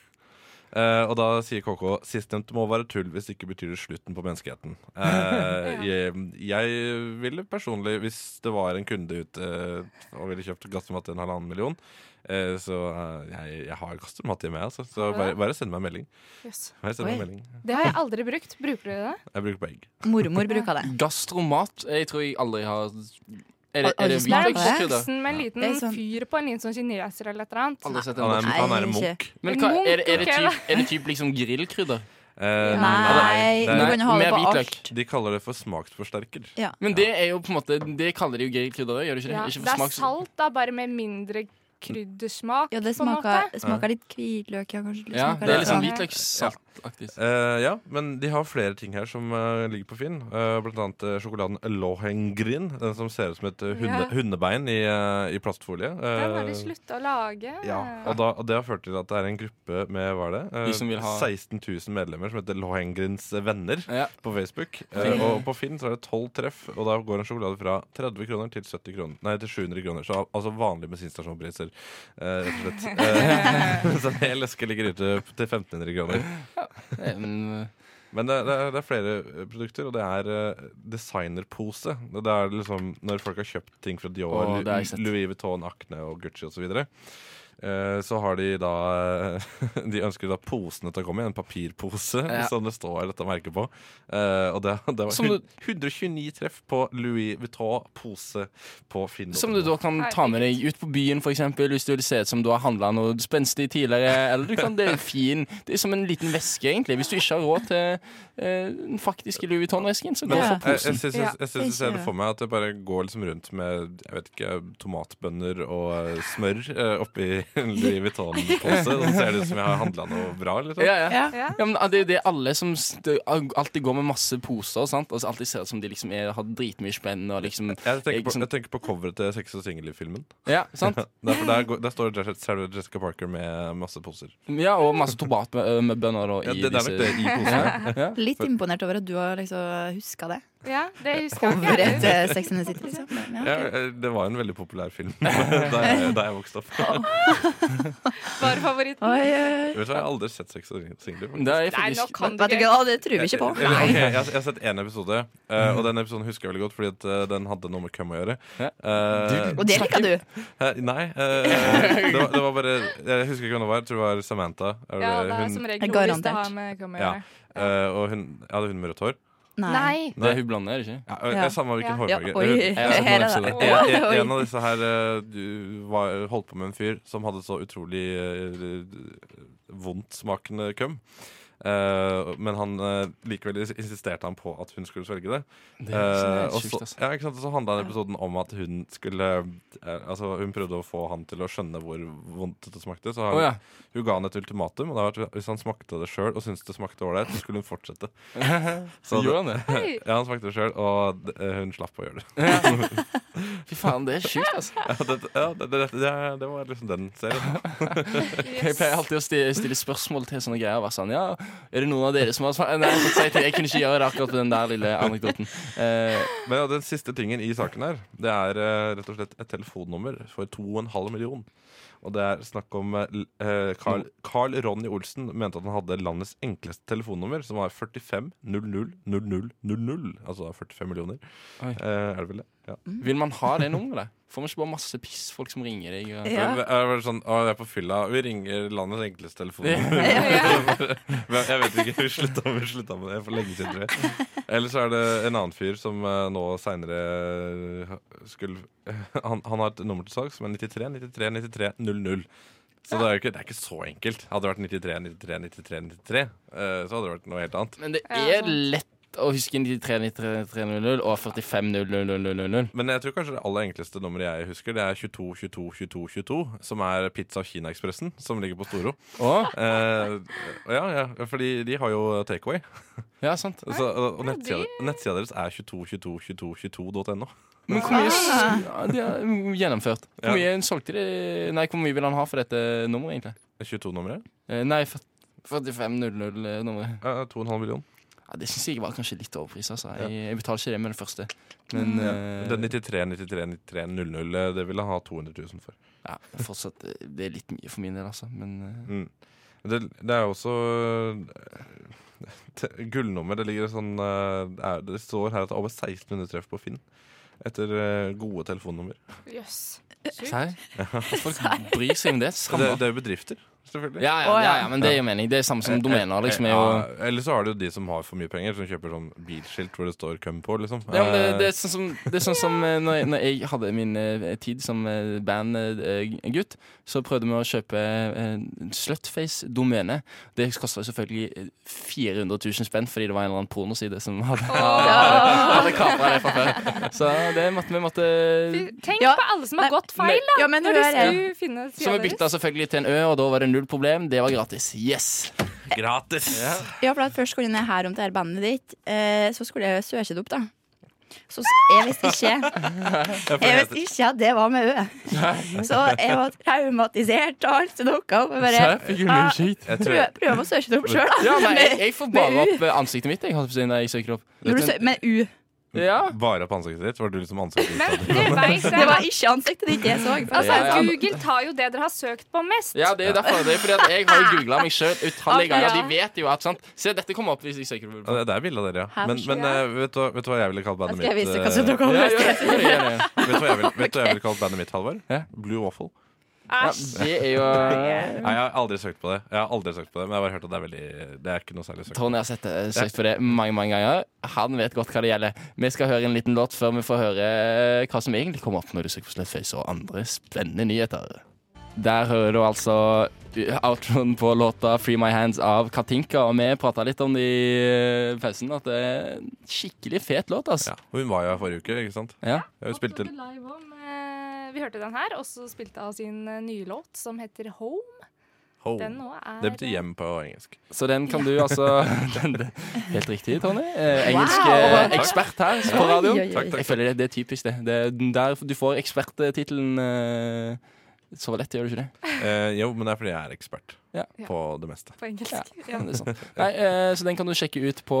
Eh, og da sier KK sistnevnte må være tull hvis det ikke betyr det slutten på menneskeheten. Eh, jeg, jeg ville personlig, hvis det var en kunde ute eh, og ville kjøpt gastromat til en halvannen million, Eh, Så eh, jeg, jeg har kastromat i meg, altså. Så
Har du
bare,
det?
bare send meg en melding.
Yes.
Bare send meg en
Oi.
melding.
Det har jeg aldri brukt. Bruker du det?
Jeg bruker på egg.
Mormor bruker det.
Gastromat? Jeg tror jeg aldri har Er
Har-
det,
har
er
du
det
smakt
Det er
Nei, det
hvitløkskrydder?
en
er
voksen med en
Det
liten
er sånn-
fyr på en liten sånn kineser eller et eller annet.
Aldri sett en
Han er,
voksen.
han er en
Nei, ikke.
munk.
Men hva, er, det- er, det
Munk,
typ,
eller?
er det typ liksom grillkrydder?
Eh,
Nei,
det er-
du kan jo ha
Med
det på
hvitløk.
alt.
de kaller det for smaksforsterker.
Men det er jo på en måte Det kaller de jo grillkrydder òg, gjør de ikke det?
Ja,
Ikke for
det er
smaks-
salt, da, bare med mindre kryddersmak.
Ja, det
på en
smaker,
måte.
smaker litt hvitløk, ja, kanskje.
Ja,
smaker
det er
litt
litt sånn
sånn.
hvitløkssaltaktig.
Eh, ja, men de har flere ting her som eh, ligger på Finn. Eh, blant annet eh, sjokoladen Lohengrin. Den som ser ut som et eh, hunde,
Ja.
hundebein i, eh, i plastfolie.
Den har de
Eh,
slutta å lage.
Ja, og, da, og det har ført til at det er en gruppe med hva er det? Eh,
De som vil ha-
16 000 medlemmer som heter Lohengrins venner
Ja.
på Facebook. Eh, og på Finn så er det 12 treff, og da går en sjokolade fra 30 kroner til 70 kroner. Nei, til 700 kroner. Så al- altså vanlige bensinstasjonspriser, eh, rett og slett. Eh, så en hel eske ligger ute til 1500 kroner.
Nei, men, eh,
Men det, det, er, det er flere eh, produkter, og det er eh, designerpose. Det, det er liksom når folk har kjøpt ting fra Dior,
Å, det har jeg
Lu-
sett.
Louis Vuitton, Acne og Gucci osv. Så, videre, eh, så har de da eh, De ønsker da posene til å komme i. En papirpose
Ja.
som det står dette merket på. Eh, og det, det var
Som du-
hun- 129 treff på Louis Vuitton-pose på Finn.
Som du da kan ta med deg ut på byen, for eksempel, hvis du vil se ut som du har handla noe spenstig tidligere. Eller du kan, det er en fin Det er som en liten veske, egentlig. Hvis du ikke har råd til eh, den faktiske Louis Vuitton-vesken, så gå
Men eh,
for
jeg, jeg
posen.
syns
Ja,
jeg, jeg, syns jeg ser det
ikke-
for meg at jeg bare går liksom rundt med jeg vet ikke, tomatbønner og eh, smør eh, oppi en Louis Vuitton-pose. Og så ser det ut som jeg har handla noe bra. Liksom.
Ja, ja.
Ja.
Ja.
Ja, men Det er jo det alle som s- det alltid går med masse poser. sant? Altså Alltid ser ut som de liksom er, har dritmye spenn. og liksom...
Jeg tenker, på,
Ikke sant?
jeg tenker på coveret til Sex og singel-filmen.
Ja, sant?
Der, for der, går- der står Jessica, Sarah Jessica Parker med masse poser.
Ja, Og masse tomatbønner da,
Ja,
i
det, det er nok det i posene.
Ja, ja.
Litt imponert over at du har liksom huska det.
Ja, det husker jeg ikke.
Coveret til Sex and the City, liksom. Men
Ja,
Ja.
eh, det var en veldig populær film da jeg, da jeg vokste opp. Vet
Var favoritten.
Oi, oi, oi.
du hva, Jeg har aldri sett Sex og singel.
Det er
Nei, nå
faktisk
kan du
Vet du
ikke.
hva, det tror vi ikke på.
Eller, ok, jeg, har- jeg har sett én episode, eh, og den episoden husker jeg veldig godt fordi at, eh, den hadde noe med køm å gjøre.
Ja.
Eh,
Og det liker du.
Hæ? Nei. eh, det, var, det var bare Jeg husker ikke hvem det var. Jeg tror det var Samantha. Er det
Ja, det er
hun,
som regel noe hvis
Garantert.
det har med hva med å
Ja.
gjøre.
eh, og hun, ja, det er hun med rødt hår.
Nei.
Nei.
Det er hun blander, er det ikke?
Ja, og-
Ja.
jeg, samme
Ja.
hvilken
Ja,
hårfarge.
oi,
Hun-
har sett noen
her er
episoder.
det.
En, en,
Oi.
en av disse her eh, du, var, holdt på med en fyr som hadde så utrolig eh, vondtsmakende køm. Eh, men han eh, likevel insisterte han på at hun skulle svelge det.
Det er
Eh,
helt
og
sjukt,
så,
altså.
ja, ikke sant? så handla den episoden om at hun skulle eh, Altså Hun prøvde å få han til å skjønne hvor vondt det smakte. Så han,
Å ja.
hun ga han et ultimatum. Og det var at hvis han smakte det sjøl og syntes det smakte ålreit, så skulle hun fortsette.
Så
Så det,
gjør han det.
Oi.
ja, han smakte det sjøl, og eh, hun slapp å gjøre det.
Fy faen, det er sjukt, altså.
Ja, det, ja, det, det, det, det var liksom den serien.
Jeg pleier alltid å stille, stille spørsmål til sånne greier. og Være sånn, ja, er det noen av dere som har smak- Nei, jeg, måtte si til, jeg kunne ikke gjøre det akkurat på den der lille anekdoten. Eh,
Men ja, den siste tingen i saken her, det er eh, rett og slett et telefonnummer for 2,5 million. Og det er snakk om eh, l- eh, Carl, Carl Ronny Olsen mente at han hadde landets enkleste telefonnummer, som var 45 00 00 00. Altså 45 millioner.
Oi.
Eh, er det vel det? Ja.
vil man ha det nummeret? Får man ikke bare masse piss, folk som ringer deg? Og...
Ja.
Men, er det vel sånn, å, jeg er på fylla, vi ringer landets enkleste telefonnummer. Men jeg vet ikke, vi slutta, vi slutta med det for lenge siden, tror jeg. Eller så er det en annen fyr som eh, nå seinere skulle han, han har et nummer til salg som er 93 93 93 00. Så det er jo ikke, det er ikke så enkelt. Hadde det vært 93 93 93 93, eh, så hadde det vært noe helt annet.
Men det er lett å huske 93 93 300 og 45 0000.
Men jeg tror kanskje det aller enkleste nummeret jeg husker, det er 22 22 22 22, som er Pizza Kina-ekspressen, som ligger på Storo.
Å,
Eh, ja, ja, fordi de har jo takeaway.
ja, sant.
Så, og og nettsida, nettsida deres er 22222222.no.
Men hvor mye s- ja, de har gjennomført? Hvor mye solgte de Nei, hvor mye vil han ha for dette nummeret, egentlig?
22-nummeret?
Eh, Nei, 45 00-nummeret.
Ja, 2,5 million.
Ja, det syns jeg var kanskje litt overpris. Altså. Jeg, jeg betaler ikke det med det første. Men eh,
Den 93, 93, 93, 00, eh, det ville han ha 200 000 for.
ja, fortsatt, eh, det er litt mye for min del, altså. Men eh,
Mm. Det, det er jo også eh, t- Gullnummer, det ligger sånn eh, det er, Det står her at det er over 1600 treff på Finn. Etter eh, gode telefonnummer.
Jøss.
Serr? Folk bryr seg om det.
Det,
Samme.
det er jo bedrifter, selvfølgelig.
Ja, ja,
Å,
ja,
ja.
ja, men det gir mening. Det er samme som domener. liksom er jo...
Eh, Eller så har du de som har for mye penger, som kjøper sånn bilskilt hvor det står 'cum' på. liksom
Ja, men det, det er sånn som, det er sånn som eh, når, jeg, når jeg hadde min eh, tid som eh, bandgutt, så prøvde vi å kjøpe eh, Slutface-domene. Det kosta selvfølgelig eh, 400 000 spenn fordi det var en eller annen pornoside som hadde, hadde kapra det fra før. Så det måtte, vi måtte
Tenk
Ja,
på alle som har
nei,
gått feil, da!
Ja, men
Når de
hør her.
skulle finne
Så
sida
vi bytta selvfølgelig til en Ø, og da var det null problem. Det var gratis. Yes!
Gratis!
Ja, for at først skulle jeg ned her om til her bandet ditt, eh, så skulle jeg søke det opp, da. Så s- jeg visste ikke Jeg visste ikke at det var med Ø. Så jeg var traumatisert og alt som dukka opp. Og bare
fikk hun mye skit.
Jeg tror
prøv, prøv å søke det opp sjøl, da.
Ja, men jeg, jeg får bare
Med U.
opp eh, ansiktet mitt jeg, holdt jeg på å si, når jeg søker opp.
Når du sø- Med U.
Ja.
Bare på ansiktet ditt? Var du liksom ansiktet
Men
ditt?
det vet
Det
jeg.
var ikke ansiktet ditt jeg så.
Altså,
Ja, ja.
Google tar jo det dere har søkt på mest.
Ja, det er derfor. Det er fordi at jeg har jo googla meg sjøl utallige
Ja.
ganger. De vet jo at sant? Se, dette kommer opp hvis jeg søker på det.
Ja, det- det er bilde av dere, ja.
Her
Men,
forsvinner
men eh, vet, du, hva- vet du hva jeg ville kalt bandet
Skal jeg
mitt?
vise
eh,
hva som
Ja,
dukka opp?
ja, ja, ja, ja.
Vet du hva jeg ville, vet du hva jeg ville kalt bandet mitt, Halvor?
Ja.
Blue Waffle.
Ja,
Æsj.
det er jo eh,
Nei, jeg har aldri søkt på det. Jeg har aldri søkt på det Men jeg har bare hørt at det er veldig Det er ikke noe særlig søkt.
Tony har sett det, søkt på det mange mange ganger. Han vet godt hva det gjelder. Vi skal høre en liten låt før vi får høre eh, hva som egentlig kommer opp når du søker på Slutface og andre spennende nyheter. Der hører du altså outroen på låta 'Free My Hands' av Katinka, og vi prata litt om det i eh, pausen, at det er en skikkelig fet låt, altså.
Ja. Og hun var jo her forrige uke, ikke sant?
Ja.
Hun spilte
Og så var det live om, eh, Vi hørte den her, og så spilte hun sin eh, nye låt som heter Home. Den
Home.
nå er
Oh. Det betyr hjem på engelsk.
Så den kan du altså den, den- Helt riktig, Tony. Eh, engelsk
Wow.
eh, ekspert her på radioen.
Oi, oi, oi. Takk, takk,
Jeg føler det, det er typisk, det. det er den der du får eksperttittelen eh, så lett, gjør du ikke det?
Eh, jo, men det er fordi jeg er ekspert
Ja.
på det meste.
eh, på engelsk.
Ja.
Ja.
Men det er sånn. Nei, eh, så den kan du sjekke ut på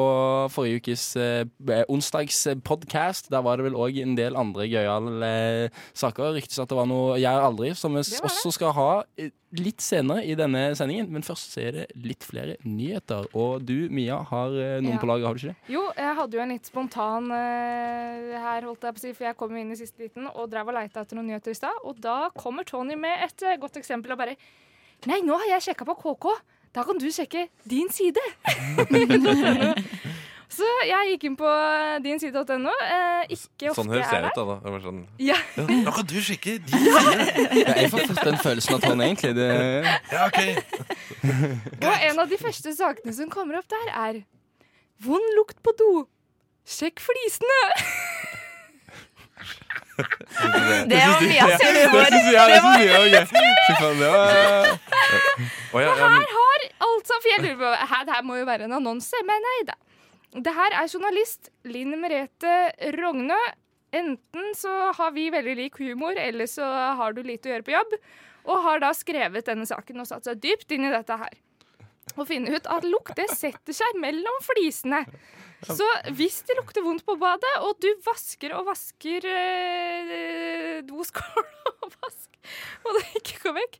forrige ukes eh, onsdags podcast. Der var det vel òg en del andre gøyale eh, saker. Ryktes at det var noe Jeg er aldri, som vi s-
Det var det.
også skal ha eh, litt senere i denne sendingen. Men først så er det litt flere nyheter. Og du, Mia, har eh, noen
Ja.
på laget, har du ikke det?
Jo, jeg hadde jo en litt spontan eh, her, holdt jeg på å si, for jeg kom jo inn i siste liten og drev og leita etter noen nyheter i stad. Og da kommer Tony med et eh, godt eksempel og bare Nei, nå har jeg sjekka på KK. Da kan du sjekke din side. Så jeg gikk inn på dinside.no. Eh, ikke ofte
Sånn høres
jeg
jeg
er der.
ut, da. da. Det var sånn,
Ja.
Nå kan du sjekke! De.
Ja, jeg får fått den følelsen av Tone, egentlig. Det,
Ja, ok
Og en av de første sakene som kommer opp der, er Vond lukt på do. Sjekk flisene.
Det var Mia sin humor.
Å, ja, ja, men-
Altså, for jeg lurer på Hæ, det her må jo være en annonse, men nei da. Det her er journalist Linn Merete Rognø. Enten så har vi veldig lik humor, eller så har du lite å gjøre på jobb. Og har da skrevet denne saken og satt seg dypt inn i dette her. Og finne ut at lukt det setter seg mellom flisene. Så hvis det lukter vondt på badet, og du vasker og vasker eh, doskål og vask, og det ikke går vekk,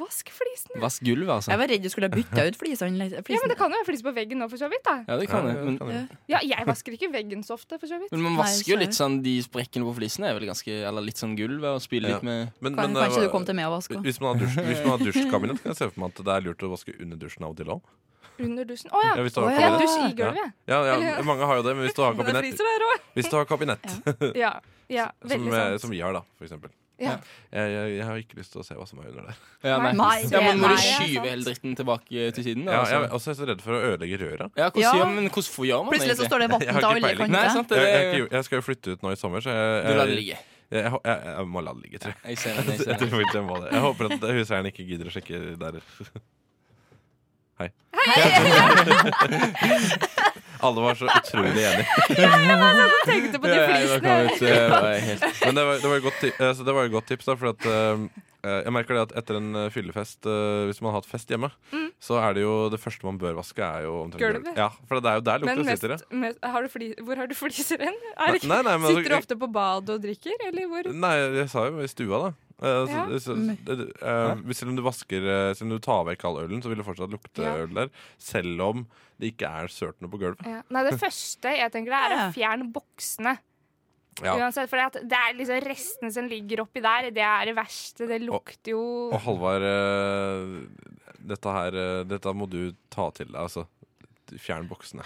vask flisene.
Vask gulvet, altså.
Jeg var redd du skulle ha bytta ut flisene.
Ja, men det kan jo være flis på veggen nå, for så vidt. da.
Ja, det kan
Ja,
jeg.
ja,
Men,
det kan jeg.
Ja, jeg vasker ikke veggen så ofte, for så vidt.
Mm.
men man
Nei,
vasker jo
så-
litt sånn de sprekkene på flisene. Er vel ganske, eller litt sånn gulvet, og spyler
Ja.
litt med
Men- men eh,
Kan,
det
kanskje
var-
du kom til meg og vaska?
Hvis man har, dusj, hvis man har dusjkabinett, kan jeg se for meg at det er lurt å vaske under dusjen av og til òg.
Under dusjen. Å ja.
Ja, hvis du har
Å,
ja.
kabinett.
Dusj i gulvet.
Ja, ja, mange har jo det, men hvis du har
Men Det
kabinett,
fryser der òg.
hvis du har kabinett
Ja. ja,
som,
veldig
eh,
sant.
som vi har, da, for eksempel.
Ja.
Jeg, jeg, jeg har ikke lyst til å se hva som er under der.
ja, nei.
Nei,
ja, men må du
nei, det er
skyve
sant.
hele dritten tilbake til siden? Da,
Ja, jeg,
altså?
også er jeg så redd for å ødelegge røra.
ja, hvordan,
Ja.
Gjør, men hvordan får- gjør man
Plutselig så
egentlig?
står det vann
Jeg har
til
ikke
alle
peiling.
Nei,
kanter.
sant?
Jeg,
Det,
jeg, jeg, jeg skal jo flytte ut nå i sommer, så jeg,
du lar det
jeg, jeg,
ligge.
jeg, jeg, jeg må la det ligge, tror jeg.
Jeg ser det, jeg
Jeg,
ser det.
tror ikke jeg, må det. jeg håper at huseieren ikke gidder å sjekke der. Hei. Alle var så utrolig enige.
Tenkte på de
Ja, jeg
flisene.
var kommet, eh, var jeg helt-
Men det var, det var, et, godt, ti- eh, så det var et godt tips, da, for at eh, eh, jeg merker det at etter en eh, fyllefest, eh, hvis man har hatt fest hjemme, så er det jo det første man bør vaske, er jo omtrent
Mm. Gulvet.
gulvet. Ja, for det er jo der
Men
lukta
mest,
sitter. ja.
mest, har du fli, hvor har du fliser hen? Er det ikke,
Nei, nei, men
sitter du
altså-
ofte på badet og drikker, eller hvor?
Nei, jeg sa jo i stua, da. Eh, så,
Ja. Mm.
så, så, eh, hvis- selv om du vasker eh, Selv om du tar vekk all ølen, så vil det fortsatt lukte
Ja.
øl der. Selv om det ikke er sølt noe på gulvet.
Ja. Nei, det første jeg tenker er å
Ja.
fjerne boksene.
Ja.
Uansett, for det, at det er liksom restene som ligger oppi der, det er det verste. Det lukter jo
Og Halvard, eh, dette her eh, Dette må du ta til deg, altså. Fjern boksene.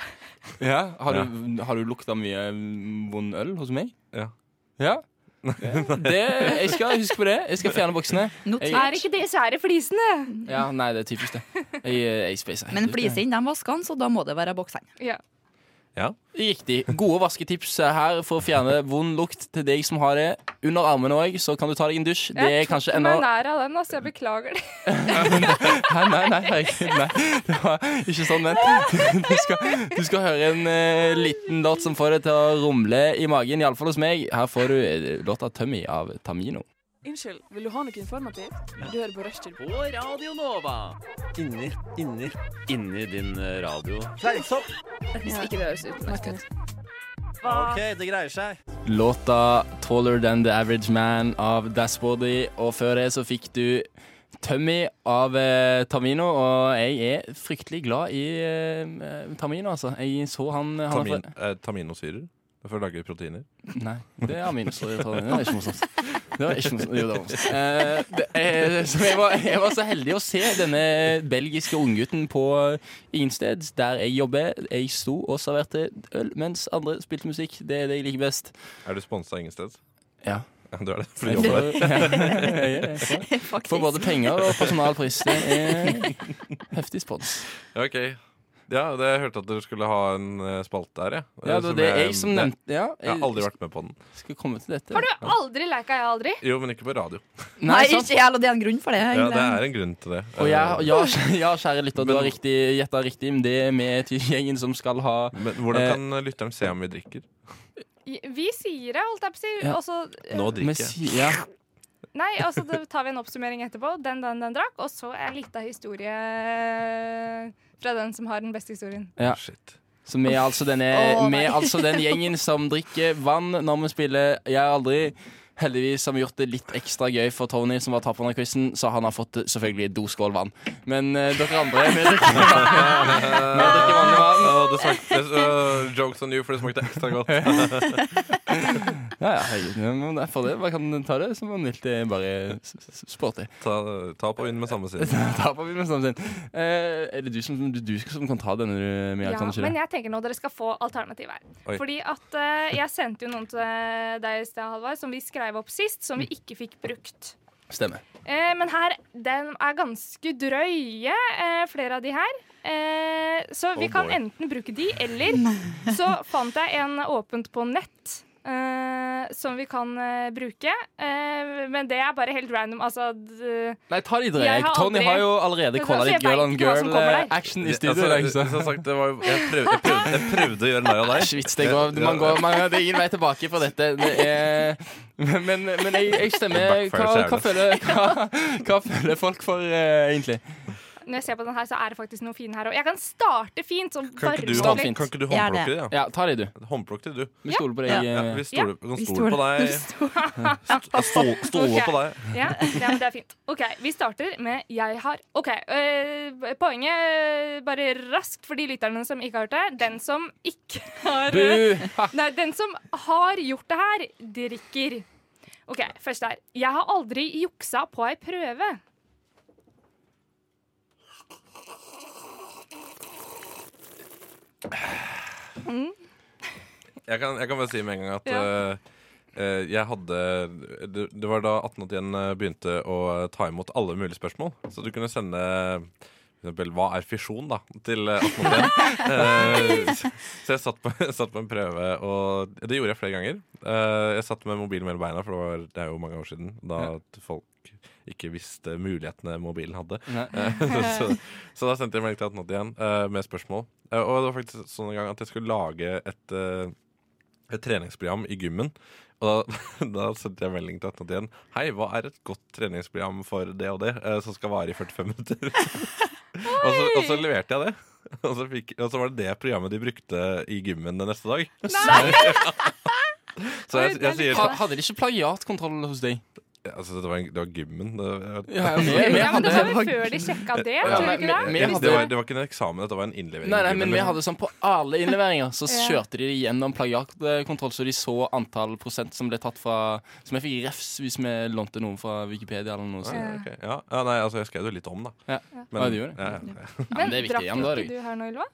Ja, Har
Ja.
du, har du lukta mye mm, vond øl hos meg?
Ja.
Ja? Det, jeg skal huske på det. Jeg skal fjerne boksene.
Er ikke det svære flisene?
Ja, Nei, det er typisk det. eh, Jeg, jeg spacer helt
Men
ut, jeg.
flisene, de vasker han, så da må det være boksene.
Ja.
Riktig. Gode vasketips eh, her for å fjerne vond lukt til deg som har det under armene òg. Så kan du ta deg en dusj. Det er
Jeg
kanskje
tok
enda
meg nær av den, altså. Jeg beklager det.
Nei, nei, nei, herregud, nei. Det var ikke sånn ment. Du skal, du skal høre en eh, liten låt som får deg til å rumle i magen, iallfall hos meg. Her får du eh, låta 'Tummy' av Tamino.
Unnskyld, vil du ha noe informativt? Du hører på Rushtid.
På Radio Nova. Inni, inni, inni din radio.
Hvis ikke det høres utenlandsk ut.
OK, det greier seg.
Låta 'Taller Than The Average Man' av Dashbody, og før det så fikk du 'Tummy' av eh, Tamino, og jeg er fryktelig glad i eh, Tamino, altså. Jeg så han, han har
Tamin,
fått-
eh, taminosyrer. For å lage proteiner.
Nei, det er aminosyrer. i Tannin. Det er ikke morsomt. Det var ikke morsomt. Jo, det var morsomt. Eh, det, eh, så jeg, var, jeg var så heldig å se denne belgiske unggutten på Innsted, der jeg jobber. Jeg sto og serverte øl mens andre spilte musikk. Det er det jeg liker best.
Er du sponsa ingen sted?
Ja.
Ja, Du er det. For
Jeg
du jobber der.
får, ja, jeg får både penger og personalpris. Det er Eh, heftig spons.
Ja, ok. Ja, det, jeg hørte at dere skulle ha en eh, spalte her, jeg.
Ja, det var det jeg som nevnte ja,
Eh, Jeg har aldri vært med på den.
skal komme til dette.
Har du aldri leika jeg aldri?
Jo, men ikke på radio.
Nei,
sant?
ikke jeg, og det er en grunn for det.
Ja, Det er en grunn til det.
Og ja,
Eh,
ja, kjæ- ja, kjære lytter, du
Men-
har riktig gjetta riktig. Men det er vi til gjengen som skal ha
Men hvordan
Eh,
kan lytteren se om vi drikker?
Vi sier det, holdt jeg på å si.
Ja.
Og så
Nå
vi
drikker jeg.
si- ja.
Nei, altså da tar vi en oppsummering etterpå. Den, den, den drakk. Og så er litt av historie eh, fra den som har den beste historien.
Ja.
Ah, Shit.
Så vi er, altså denne,
Åh,
vi
nei.
er altså den gjengen som drikker vann når vi spiller Jeg har aldri Heldigvis har vi gjort det litt ekstra gøy for Tony, som var taperen av quizen, så han har fått eh, selvfølgelig doskål vann. Men eh, dere andre vi drikker, vi Eh, drikker
Ah.
vanlig vann.
Å, det smakte øh, Jokes on you, for det smakte ekstra godt.
Ja, ja, herregud. ja, men det er for det. Man kan ta det som man vil. Det er bare s- s- sporty.
Ta, ta på inn med samme side.
Taper vi med samme sinn. Eh, er det du som, du, du som kan ta denne, eh, du, Mia?
Ja,
kan du ikke det?
men jeg tenker nå dere skal få alternativ her.
Oi.
Fordi at eh, jeg sendte jo noen til deg i sted, Halvard, som vi skrev opp sist, som
Mm.
vi ikke fikk brukt.
Stemmer.
Eh, men her, den er ganske drøye, eh, flere av de her. Eh, så vi
Oh
kan
boy.
enten bruke de, eller så fant jeg en åpent på nett. eh, som vi kan eh, bruke. Eh, men det er bare helt random. Altså d-
Nei, ta de
Jeg
drøye.
har
Tony
aldri-
har jo allerede
Men
calla
altså,
litt
jeg
girl
vet
on
ikke hva som
girl
kommer
eh,
der.
action i
Altså,
studio.
det-
liksom.
som sagt, det var jo, jeg, prøvde, jeg, prøvde, jeg prøvde å gjøre narr av
Det er
deg.
ikke vits. Det, går, man går, man, det er ingen vei tilbake fra dette. Det er, men men jeg, jeg stemmer. Hva, hva, føler, hva, hva føler folk for, eh, egentlig?
Når jeg ser på den her, så er det faktisk noe fine her òg. Jeg kan starte fint. Sånn
Kan ikke du,
varme
Start
hånd-
fint.
kan ikke du
Jeg er
håndplukke det? Ja?
Ja, ta de, du.
Håndplukk det, du.
Vi stoler på deg.
Ja,
eh.
vi stoler, kan stole på deg. Stole,
Ok.
på deg.
Ja, ja, men det er fint. OK, vi starter med 'jeg har'. OK, øh, Poenget, øh, bare raskt for de lytterne som ikke har hørt det. Den som ikke har øh,
Bu! Ha.
Nei, den som har gjort det her, drikker. OK, først her. 'Jeg har aldri juksa på ei prøve'.
Jeg kan, jeg kan bare si med en gang at
Ja.
eh, eh, jeg hadde det, det var da 1881 begynte å ta imot alle mulige spørsmål. Så du kunne sende for eksempel, Hva er fisjon, da? Til eh, 1881. Eh, så jeg satt på, satt på en prøve, og det gjorde jeg flere ganger. Eh, jeg satt med mobilen mellom beina, for det, var, det er jo mange år siden. Da at folk ikke visste mulighetene mobilen hadde.
Nei.
Eh, så, så da sendte jeg melding til 1881 eh, med spørsmål. Eh, og det var faktisk sånn en gang at jeg skulle lage et, eh, et treningsprogram i gymmen. Og da, da sendte jeg melding til 1881. Hei, hva er et godt treningsprogram for det og det, eh, som skal vare i 45 minutter? og, så, og så leverte jeg det. Og så, fikk, og så var det det programmet de brukte i gymmen den neste dag.
Nei!
Så jeg, jeg, sier
Ha, hadde de ikke plagiatkontroll hos deg?
Altså, det, var en, det var gymmen. Det, jeg-
Ja, vi- vi
Ja, men det var vel før de sjekka det,
Ja,
tror du
nei,
ikke det?
men-
Vi
det,
hadde-
var, det var ikke en eksamen, dette var en innlevering.
Nei, nei,
i gymmen,
men vi
liksom.
hadde sånn på alle innleveringer. Så
Ja.
kjørte de gjennom plagiatkontroll, så de så antall prosent som ble tatt fra Som jeg fikk refs hvis vi lånte noen fra Wikipedia eller noe
Ja,
sånt.
ok. ja. ja, nei, altså, jeg skrev det litt om, da.
Ja.
Men-
Ja, du gjorde det.
Ja, ja.
Ja, men det er viktig. Ja, men da er det
ikke du her nå, Ylva?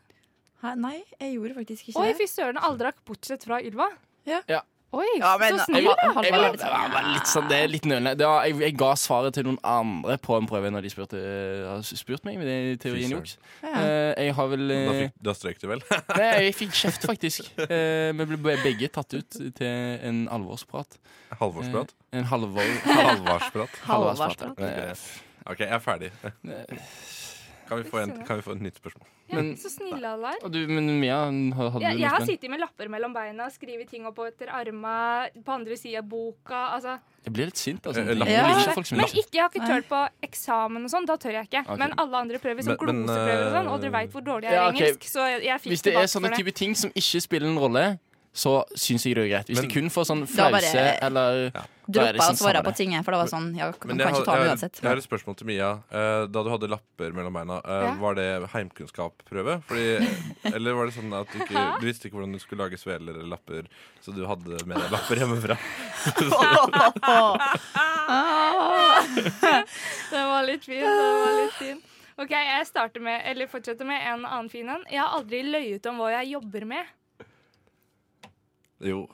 Hæ, Nei, jeg gjorde faktisk ikke
Oi,
det.
fy søren, alle drakk bortsett fra Ylva.
Ja.
Oi,
Ja, men-
så snill, da.
Halvard
Jeg,
var
var,
litt
det var bare litt sånn, det er litt nølende. Det var, jeg, jeg ga svaret til noen andre på en prøve når de spurte, eh, spurte meg. Med det i teorien
Fy søren.
juks. Eh, jeg har vel
Da,
eh,
fikk, da strøk du vel?
Nei, jeg fikk kjeft, faktisk. Eh, vi ble begge tatt ut til en alvorsprat.
Halvorsprat?
Eh, en halvor...
Halvarsprat.
halvorsprat, ja. Eh,
OK, jeg er ferdig. Kan vi få, en, kan vi få et nytt spørsmål?
Ja,
Men-
så snille alle er.
Og du, men Mia, har- hadde
Jeg,
du
jeg har
noe spenn?
sittet med lapper mellom beina, skrevet ting opp etter arma, på andre sida av boka. Altså.
Jeg blir litt sint, altså.
Eh,
Jeg
lappen.
liker
Ja.
ikke folk som
Men
er
ikke, jeg har ikke tørt på eksamen og sånn. Da tør jeg ikke.
Ok.
Men alle andre prøver, som
Men- men,
gloseprøver og sånn, og dere
eh,
veit hvor dårlig jeg er i
ja, ok.
engelsk, så jeg, jeg fikk
Hvis det er
tilbake
sånne
for det.
type ting som ikke spiller en rolle, så syns jeg det er greit. Hvis
Men-
det kun får sånn
Da bare-
flause eller da er det
Droppa å
sånn
svare
samme
på
det.
tinget, for det var sånn Ja, kan
Men jeg
ikke ta
har- jeg
det
har-
uansett.
Jeg har et spørsmål til Mia. Eh, Da du hadde lapper mellom beina, eh,
Ja.
var det heimkunnskapsprøve? Fordi- Eller var det sånn at du, ikke, du visste ikke hvordan du skulle lage sveler eller lapper, så du hadde med deg lapper hjemmefra?
Ah.
Den var litt fin. Den var litt fin. Ok, Jeg starter med, eller fortsetter med en annen fin en. Jeg har aldri løyet om hva jeg jobber med.
Jo.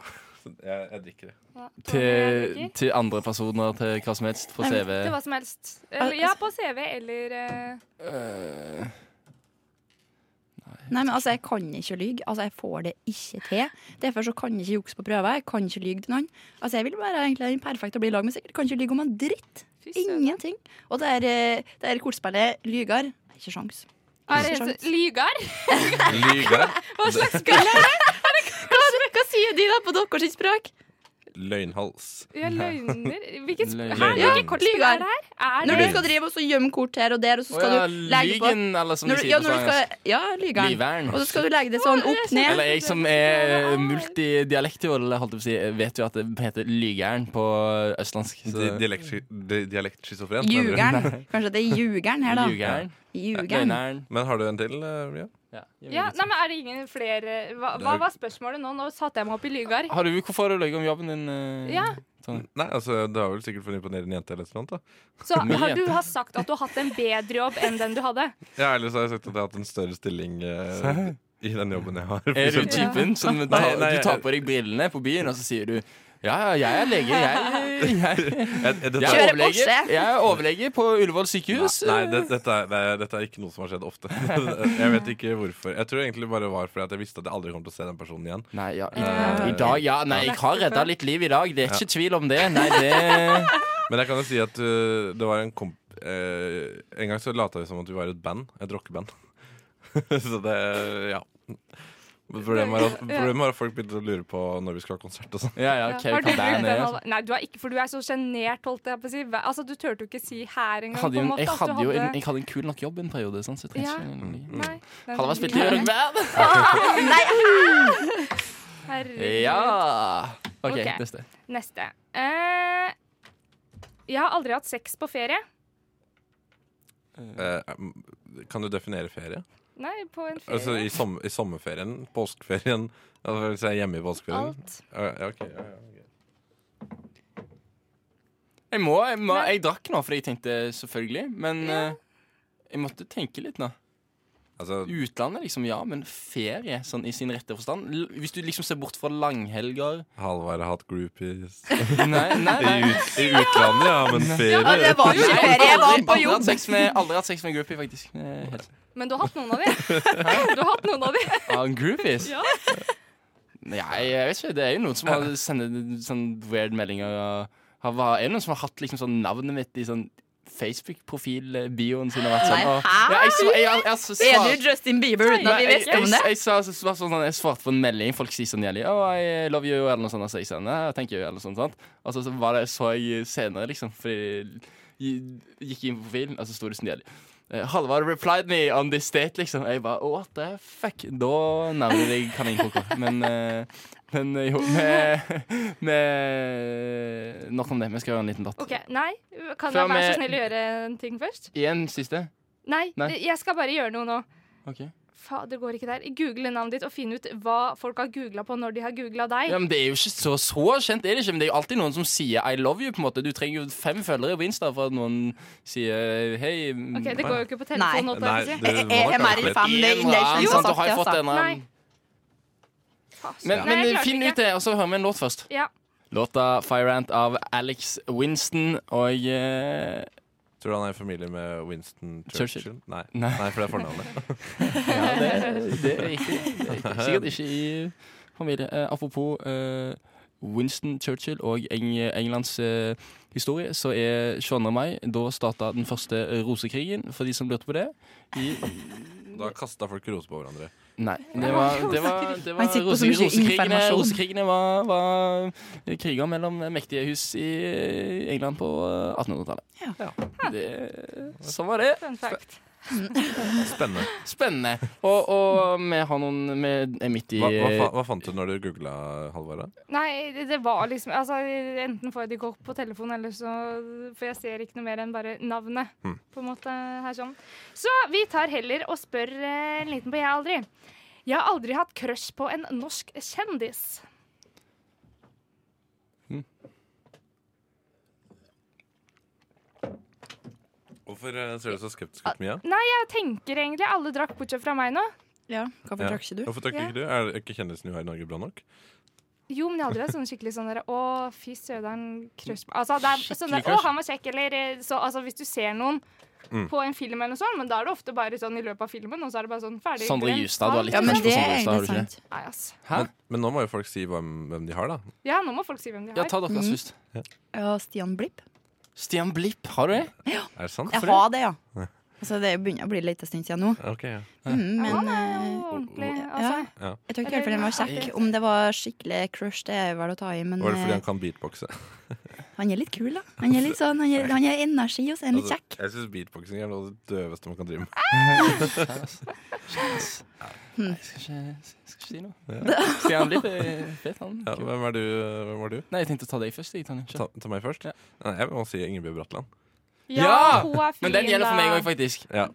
Jeg, jeg drikker det.
Ja, tror jeg
til,
liker.
til andre personer, til hva som helst, på
Nei, men
CV.
Til hva som helst. Eller,
altså-
ja, på CV eller eh,
Eh,
Nei, men altså, jeg kan ikke lyge. Altså, jeg får det ikke til. Derfor så kan jeg ikke jukse på prøver. Jeg kan ikke lyge til noen. Altså, jeg vil være egentlig perfekt å bli i lag med, sikkert. Kan ikke lyge om en dritt.
fy søren.
Ingenting. Og det er, eh, det er kortspillet lyger. Nei, Ikke sjans.
Er det helt- Lygar?
Lyger.
Hva
Altså-
slags spill er det?
Hva, hva sier de da på deres språk?
Løgnhals.
Ja, løgner. Hvilket sp-
Løgner.
Hæ, hvilket
Løgn.
kortspill er det her? Er
Når du
det
skal drive og så gjemme kort her og der, og så
Å
skal
ja,
du legge på
lygen, eller som
når,
de
du-
sier
ja,
på
når du
sangeren.
skal, ja, lygeren.
Liveren.
Og så skal du legge det sånn opp ned.
Eller jeg som er multidialektioll, holdt jeg på å si, vet jo at det heter lygeren på østlandsk. Så
Di- dialekt- di- Dialektschizofren. mener du?
Ljugeren. Kanskje det er jugeren her, da.
Ljugeren.
Ljugeren.
Løgneren.
Men har du en til, eh, Mia?
Ja,
Ja, nei, men er det ingen flere Hva, hva var spørsmålet nå? Nå satte jeg meg opp i lygar.
Har du, hvorfor har du løyet om jobben din? eh,
Ja,
Nei, altså, Du har vel sikkert fått imponere en jente eller noe sånt? da
Så
Mye.
har du har sagt at du har hatt en bedre jobb enn den du hadde?
Ja, ellers har jeg sagt at jeg har hatt en større stilling eh, i den jobben jeg har.
Er du typen som tar,
Liksom. Nei, nei,
du tar
jeg-
på deg brillene på byen, og så sier du ja, ja, jeg er lege. Jeg, jeg,
Jeg- jeg- dette-
jeg,
Kjører
er, overlege,
Porsche.
jeg er overlege på Ullevål sykehus.
Nei, det, dette, er, det er, dette er ikke noe som har skjedd ofte. jeg vet ikke hvorfor. Jeg tror egentlig bare var fordi at jeg visste at jeg aldri kom til å se den personen igjen.
Nei, ja, i,
Eh,
i dag, ja, nei, jeg har redda litt liv i dag. Det er ikke tvil om det. Nei, det
Men jeg kan jo si at øh, det var en komp... eh, en gang så lata vi som at vi var et band. Et rockeband. så det Ja. Men Problemet var, at, problemet var at folk begynte å lure på når vi skulle ha konsert og sånn.
Ja, ja, ok,
Har
hva
du brukt
band
den?
er, altså.
Halvor? Nei, du er ikke, for du er så sjenert, holdt jeg på å si. Hva- Altså, du turte jo ikke si her engang,
Hadde jo,
på en
en-
måte.
jeg,
at du
hadde jo en,
hadde-
jeg hadde en kul nok jobb en periode. Sånn, så jeg
Ja. Mm.
trenger ikke en ny.
Nei, den-
Hadde vært spilt i rockeband!
Herregud.
Ja! OK,
Ok.
neste.
Neste. Eh, jeg har aldri hatt sex på ferie.
Eh, kan du definere ferie?
Nei, på en ferie.
Altså i, som, I sommerferien? Påskeferien? Altså, hvis jeg er hjemme i påskeferien?
Alt.
Eh, ja, ok, ja, ja, ok.
Jeg må, jeg må Jeg drakk nå fordi jeg tenkte selvfølgelig, men eh, jeg måtte tenke litt nå.
Altså,
Utlandet, liksom, ja, men ferie sånn i sin rette forstand. L hvis du liksom ser bort fra langhelger
Halvard har hatt groupies
Nei, nei,
I,
nei.
ut, I utlandet, ja, men
Ja,
ferie
det var ikke
Nei,
ferie, jeg var
aldri-
på
Aldri hatt
jobb.
sex med, aldri hatt sex med groupie, faktisk. Eh, helt-
Men du har hatt noen av de. Du har hatt noen av de.
Ah, groupies?
Ja.
Nei, jeg vet ikke. Det er jo noen som har sendt sånn weird meldinger. Og har, hva- er det noen som har hatt liksom sånn navnet mitt i sånn Facebook-profil-bioen sin? Og vært sånn, og, ja, jeg, sva- jeg, jeg, jeg, jeg,
Er du Justin Bieber uten at
Nei,
vi
jeg,
visste om det?
jeg, jeg, sa- så- så- sånn, jeg svarte på en melding. Folk sier sånn gjeldig oh, I love you, eller noe sånt. Så jeg sa nei, thank you, eller noe sånt. sant? Og så, så var det, så jeg senere, liksom, fordi jeg gikk inn på profilen, og så sto det sånn gjeldig. Eh, Halvard replied me on this date, liksom. Jeg bare what the fuck? Da nærmer jeg deg kaninkoka. Men eh, Men eh, jo, med, med Nok om det. Vi skal gjøre en liten datt.
OK, nei. Kan
Fra
jeg være så
med-
snill å gjøre en ting først?
Én siste.
Nei,
Nei.
jeg skal bare gjøre noe nå.
Ok.
Faen, det går ikke der. Google navnet ditt og finn ut hva folk har googla på når de har googla deg.
Ja, men Det er jo ikke så, så kjent, er det ikke, men det er jo alltid noen som sier 'I love you'. på en måte Du trenger jo fem følgere på Insta for at noen sier 'hei'. mm,
Ok, Det går jo ikke på telefonen nå. tar jeg på å si.
Jeg- jeg- jeg mer enn fem, det er innlegg som
Jo.
har
Sant, du
sagt
har jo
det,
fått
altså.
en eller annen-
Nei.
Men,
Nei, jeg
men
klarte
finn
ikke.
ut det, og så hører vi en låt først.
Ja.
Låta 'Firerant' av Alex Winston og eh,
Tror du han er i familie med Winston
Churchill?
Churchill? Nei.
Nei.
Nei. for det er fornavnet.
Ja, det, det er riktig. Det er riktig. Sikkert ikke i familie. Eh, apropos eh, Winston Churchill og Eng Englands eh, historie, så er 22. mai da starta den første rosekrigen, for de som lurte på det. I
Da kasta folk roser på hverandre.
Nei, det var, det var, det var
Han sitter på
rose-
så mye
rosekrigene,
informasjon.
rosekrigene var, var kriger mellom mektige hus i England på 1800-tallet. Det- Sånn var det.
Fun fact.
Spennende.
Spennende. Og, og vi har noen Vi er midt i
Hva, hva, fa- hva fant du når du googla Halvard? da?
Nei, det- det var liksom altså, Enten får jeg det ikke opp på telefonen, eller så For jeg ser ikke noe mer enn bare navnet. På en måte her sånn Så vi tar heller og spør eh, en liten på Jeg aldri. Jeg har aldri hatt crush på en norsk kjendis.
Hvorfor eh, ser du så skeptisk
Ah,
ut, Mia?
Nei, jeg tenker egentlig alle drakk bortsett fra meg nå.
Ja, Hvorfor
Ja.
trakk ikke du?
Hvorfor trakk
Ja.
ikke du? Er ikke kjendisen du har i Norge bra nok?
Jo, men jeg hadde det sånn skikkelig sånn der Å, fy søderen, crush på Altså, det er sånn der Å,
crush.
han var kjekk, eller eh, så Altså, hvis du ser noen
Mm.
på en film eller noe sånt, men da er det ofte bare sånn i løpet av filmen, og så er det bare sånn ferdig.
Sondre
glemt.
Justad, du har litt
Ja, men
sånn
Spørsmål
det
som
er
Gustav, har du
egentlig
ikke?
sant.
Nei, ass.
Hæ?
Men, men nå må jo folk si hvem, hvem de har, da.
Ja, nå må folk si hvem de
Ja,
har.
ta deres først.
Ja, Stian Blipp.
Stian Blipp, har du det?
Er det sant?
Jeg har det, ja. Altså, det begynner å bli litt en stund siden nå.
Ok, ja.
Mm,
Ja,
men
han er jo
eh,
ordentlig, altså.
ja. jeg tror ikke helt fordi han var kjekk.
Eller-
Om det var skikkelig crush, det er vel å ta i, men
Var det fordi
eh,
han kan beatboxe?
han er litt kul, da. Han er litt sånn, han er, han er energi, og så er han litt
Altså,
kjekk.
jeg syns beatboxing er noe av det døveste man kan drive med.
Nei, jeg skal ikke, jeg skal ikke si noe. Stian Blipp er fet, han.
Ja,
Kul.
hvem er du? Hvem er du?
Nei, jeg tenkte å ta deg først. Jeg, Tanja.
Ta, ta meg først.
Ja.
Nei, jeg må si Ingebjørg Bratland.
Ja!
hun er fin,
Men den gjelder for meg
da.
òg, faktisk.
Ja.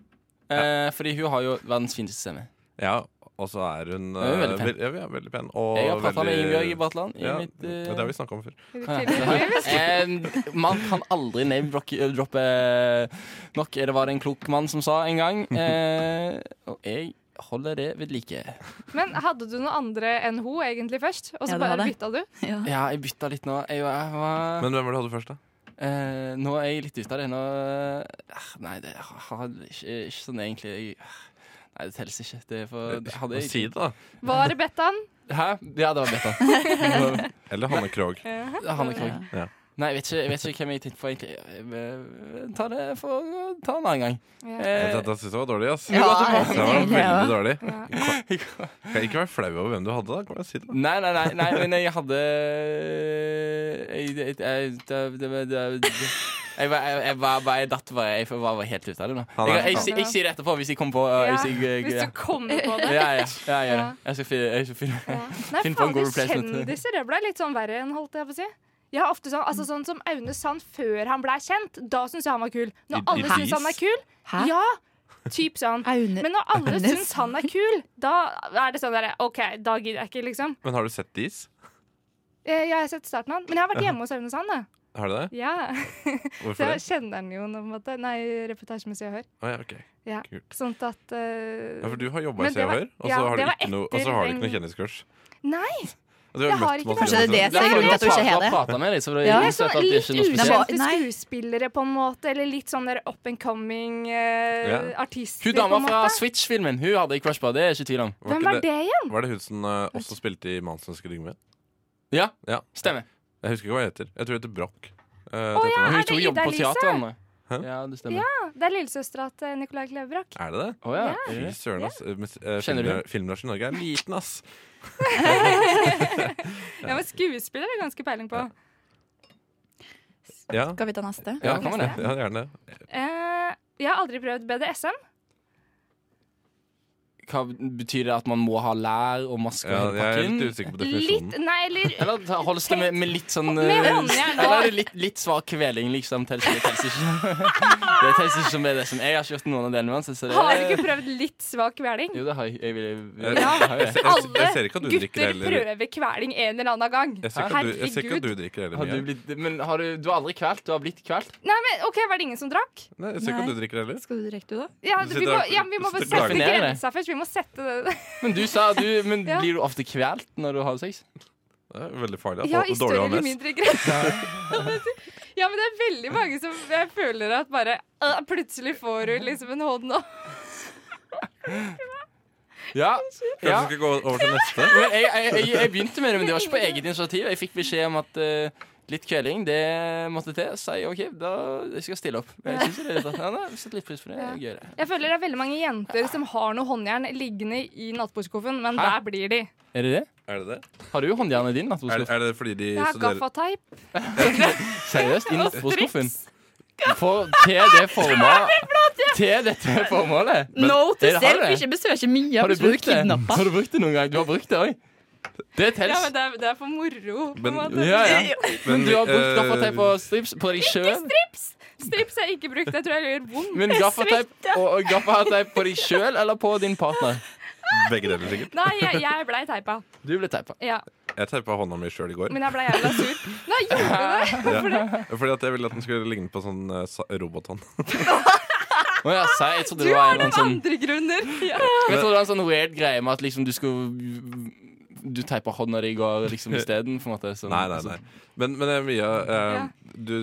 Eh, fordi hun har jo verdens fineste stemme.
ja, og så er hun
Ja, hun er veldig
eh,
pen.
vel- Ja, ja, veldig pen. Og
Jeg har prata med
veldig-
Ingebjørg Bratland. I
Ja,
mitt, eh,
det har vi snakka om før.
Eh, man kan aldri name-droppe eh, nok. Det var det en klok mann som sa en gang. Eh, og jeg holder det ved like.
Men hadde du noe andre enn hun egentlig først? Og så
Ja, det
bare
hadde jeg.
bytta du?
Ja.
Ja, jeg bytta litt nå. Jeg, var,
Men hvem var det du hadde først, da?
eh, nå er jeg litt ute av det. Nå, eh, nei, det har ikke, ikke sånn egentlig jeg, Nei, det telles ikke. Det er for, Eh, det hadde jeg
Eh, Si det, da.
Var det Bettan?
Hæ? Ja, det var Betta.
Eller Hanne
eh,
Krogh.
Det er Hanne Krogh.
Ja.
Nei, jeg vet, ikke, jeg vet ikke hvem jeg tenkte på egentlig. Eh, Ta det for ta en annen gang.
Ja.
Jeg,
Eh,
jeg, jeg syns det var dårlig, ass.
Ja, jeg
Det
synes
var
egentlig det, ja.
veldig dårlig. Kan ikke være flau over hvem du hadde, da. Kan jeg si det?
nei, nei, nei, nei, men jeg hadde eh, Jeg, jeg, jeg, det- det- det- det- det- jeg, var- jeg, jeg var bare jeg datt bare Jeg var bare helt ute av det nå.
Han er-
Jeg, jeg, jeg, jeg sier det etterpå hvis jeg kommer på eh, hvis jeg,
Hvis du kommer på
ja,
det.
ja, ja, jeg gjør det. Jeg skal finne, jeg skal finne.
Nei,
Finn på en god
fader,
replacement.
kjendiser. Det ble litt sånn verre enn holdt jeg på å si. Jeg har ofte sånn, altså sånn som Aune Sand før han ble kjent. Da syns jeg han var kul.
I-
Når
i
alle syns
dis?
han er kul,
Hæ?
ja! Typ sånn.
Aune
Men når alle
Aune
syns han er kul, da er det sånn derre OK, da gidder jeg ikke, liksom.
Men har du sett Dis?
Eh, Jeg har sett starten av den. Men jeg har vært hjemme hos Aune Sand, da.
Har du det?
Ja. Så
Hvorfor det?
jeg kjenner den jo på en måte. Nei, reportasjemessig og hør.
Å, ja, ok.
Ja.
Kult.
Sånn at eh,
Ja, for du har jobba i
Men
Se
det
og
var-
Hør, og så
ja,
har du
det var
ikke noe, og så
etter
har du ikke
den-
noe kjendiskurs.
Nei!
Og du har
Jeg
møtt
har ikke
masse
det.
Kanskje det er det
kjendiser.
som er grunnen til at du ikke har det.
prata med deg, så det
Ja,
er
Det er
innsett at
sånn
det er
litt
ikke noe spesielt.
ulempe.
ukjente
Nei.
skuespillere, på en måte. Eller litt sånn der up and coming eh,
Ja.
artister,
Hun
på
dama
en
fra
måte.
Switch-filmen Hun hadde jeg crush på, det er jeg ikke tvil om.
Hvem var det igjen?
Var det hun som eh, også spilte i Mannsens Gryngve?
Ja,
Ja.
stemmer.
Jeg husker ikke hva hun heter. Jeg tror hun heter Broch.
Å,
Eh,
ja,
tenkte
Hun
er
to
det
jobber
Ida
på
Elise?
teateren. nå.
Hæ?
Ja, det stemmer.
Det er lillesøstera til Nicolai Klevebrok.
jeg. Er det det?
Å ja.
Fy
Ja.
søren, ass. Eh, mis- eh,
Kjenner du
filmbra- Filmbransjen i Norge er liten, ass.
Ja, men skuespiller er det ganske peiling på.
Ja,
Skal vi ta neste?
ja, kan man det?
ja gjerne.
Eh, jeg har aldri prøvd BDSM.
hva betyr det at man må ha lær og maske?
Ja,
og hele
jeg er
pakken?
litt usikker på
Litt, nei, eller
Eller ta- holdes det med, med litt sånn
Med
eh,
håndjern, da.
Eller er det litt, litt svak kveling, liksom? Tels, det tels ikke. Det tels ikke som det, er det som Jeg har ikke gjort noen av delene uansett. så det-
Har du ikke prøvd litt svak kveling?
Jo, det har jeg. jeg, vil,
Jeg-
det
jeg-
har jeg.
jeg- jeg- jeg ser ikke at du
Gutter
drikker heller.
prøver kveling en eller annen gang.
Jeg ser ikke at du- jeg ser ikke at du drikker heller
Har
mye.
du blitt, men har du, du har aldri kvalt? Du har blitt kvalt?
Nei, men ok, Var det ingen som drakk?
Nei, jeg ser ikke at du drikker heller.
Skal du drikke, du, da?
Ja,
Du
vi
sitter
må,
her-
ja, vi må bare
sitter og
sette
lager-
grensa først. Vi må sette det
Men du sa du Men
Ja.
blir du ofte kvalt når du har sex?
Det er veldig farlig.
Ja, i større eller mindre grad. Ja, men det er veldig mange som jeg føler at bare øh, Plutselig får du liksom en hånd opp.
Ja.
Kanskje
ja.
vi skal gå over til neste?
Men jeg, jeg, jeg, jeg begynte med det, men det var ikke på eget initiativ. Jeg fikk beskjed om at eh, litt kveling, det måtte til. Så jeg OK, da jeg skal jeg stille opp. Jeg synes det er litt, ja, nei, jeg setter litt pris på det. Det er gøy, det.
Jeg føler det er veldig mange jenter som har noe håndjern liggende i nattbordskuffen, men der blir de.
Er det det?
Er det det?
Har du håndjernet din
Er,
nattbordskuff?
er det fordi de
Jeg har
studerer
gaffateip.
Seriøst? I
Og
nattbordskuffen? For, til det formålet Til dette formålet?
no to
Er det- har
self!
du det?
Ikke besøk ikke mye.
Har du brukt det?
kidnappa.
Har du brukt det noen gang? Du har brukt det òg? Det
Ja, men
teller.
det er, det er for moro. På
Men-
en måte.
Ja, ja. Men du har
eh,
brukt gaffateip og strips på deg sjøl?
Strips har jeg ikke brukt. Jeg tror jeg gjør vondt.
Men gaffateip og, og gaffateip på deg sjøl eller på din partner?
begge deler, sikkert?
Nei, jeg, jeg blei teipa.
Du ble teipa.
Ja.
Jeg teipa hånda mi sjøl i går.
Men jeg blei jævla sur. Nei, gjorde du det?
Ja. Fordi at jeg ville at den skulle ligne på sånn eh, sa- robothånd.
Å ja, så jeg trodde
Du
det var
har
en eller annen
det av
sånn
andre grunner. Ja.
Jeg trodde det var en sånn weird greie med at liksom du skulle Du teipa hånda di i går liksom isteden, på en måte. Sånn,
Nei, nei, nei. Men, men eh, Mia, eh,
Ja.
du,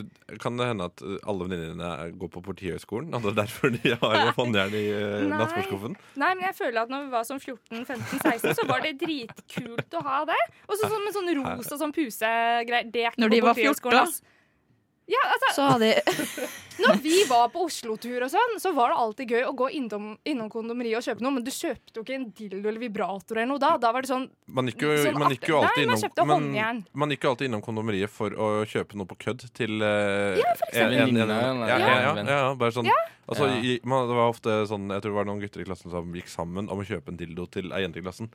kan det hende at eh, alle venninnene dine går på Politihøgskolen? Og det er derfor de har håndjern i uh,
Nei.
nattbordskuffen?
Nei, men jeg føler at når vi var sånn 14-15-16, så var det dritkult å ha det. Og så sånn med sånn rosa sånn pusegreier. Det er ikke
Når
på
de var
Politihøgskolen,
14,
ass. Ja, altså,
Så har de
når vi var på Oslo-tur og sånn, så var det alltid gøy å gå innom, innom kondomeriet og kjøpe noe, men du kjøpte jo ikke en dildo eller vibrator eller noe da. Da var det sånn
Man gikk jo,
Sånn
man gikk jo
at- Nei,
alltid
man
innom
kjøpte
men-
håndjern.
Man gikk jo alltid innom kondomeriet for å kjøpe noe på kødd til eh, en- en- en-
Venninne,
Ja,
eller-
ja, ja,
venn.
ja, bare sånn altså,
Ja.
i- man, Det var ofte sånn Jeg tror det var noen gutter i klassen som gikk sammen om å kjøpe en dildo til ei jente i klassen.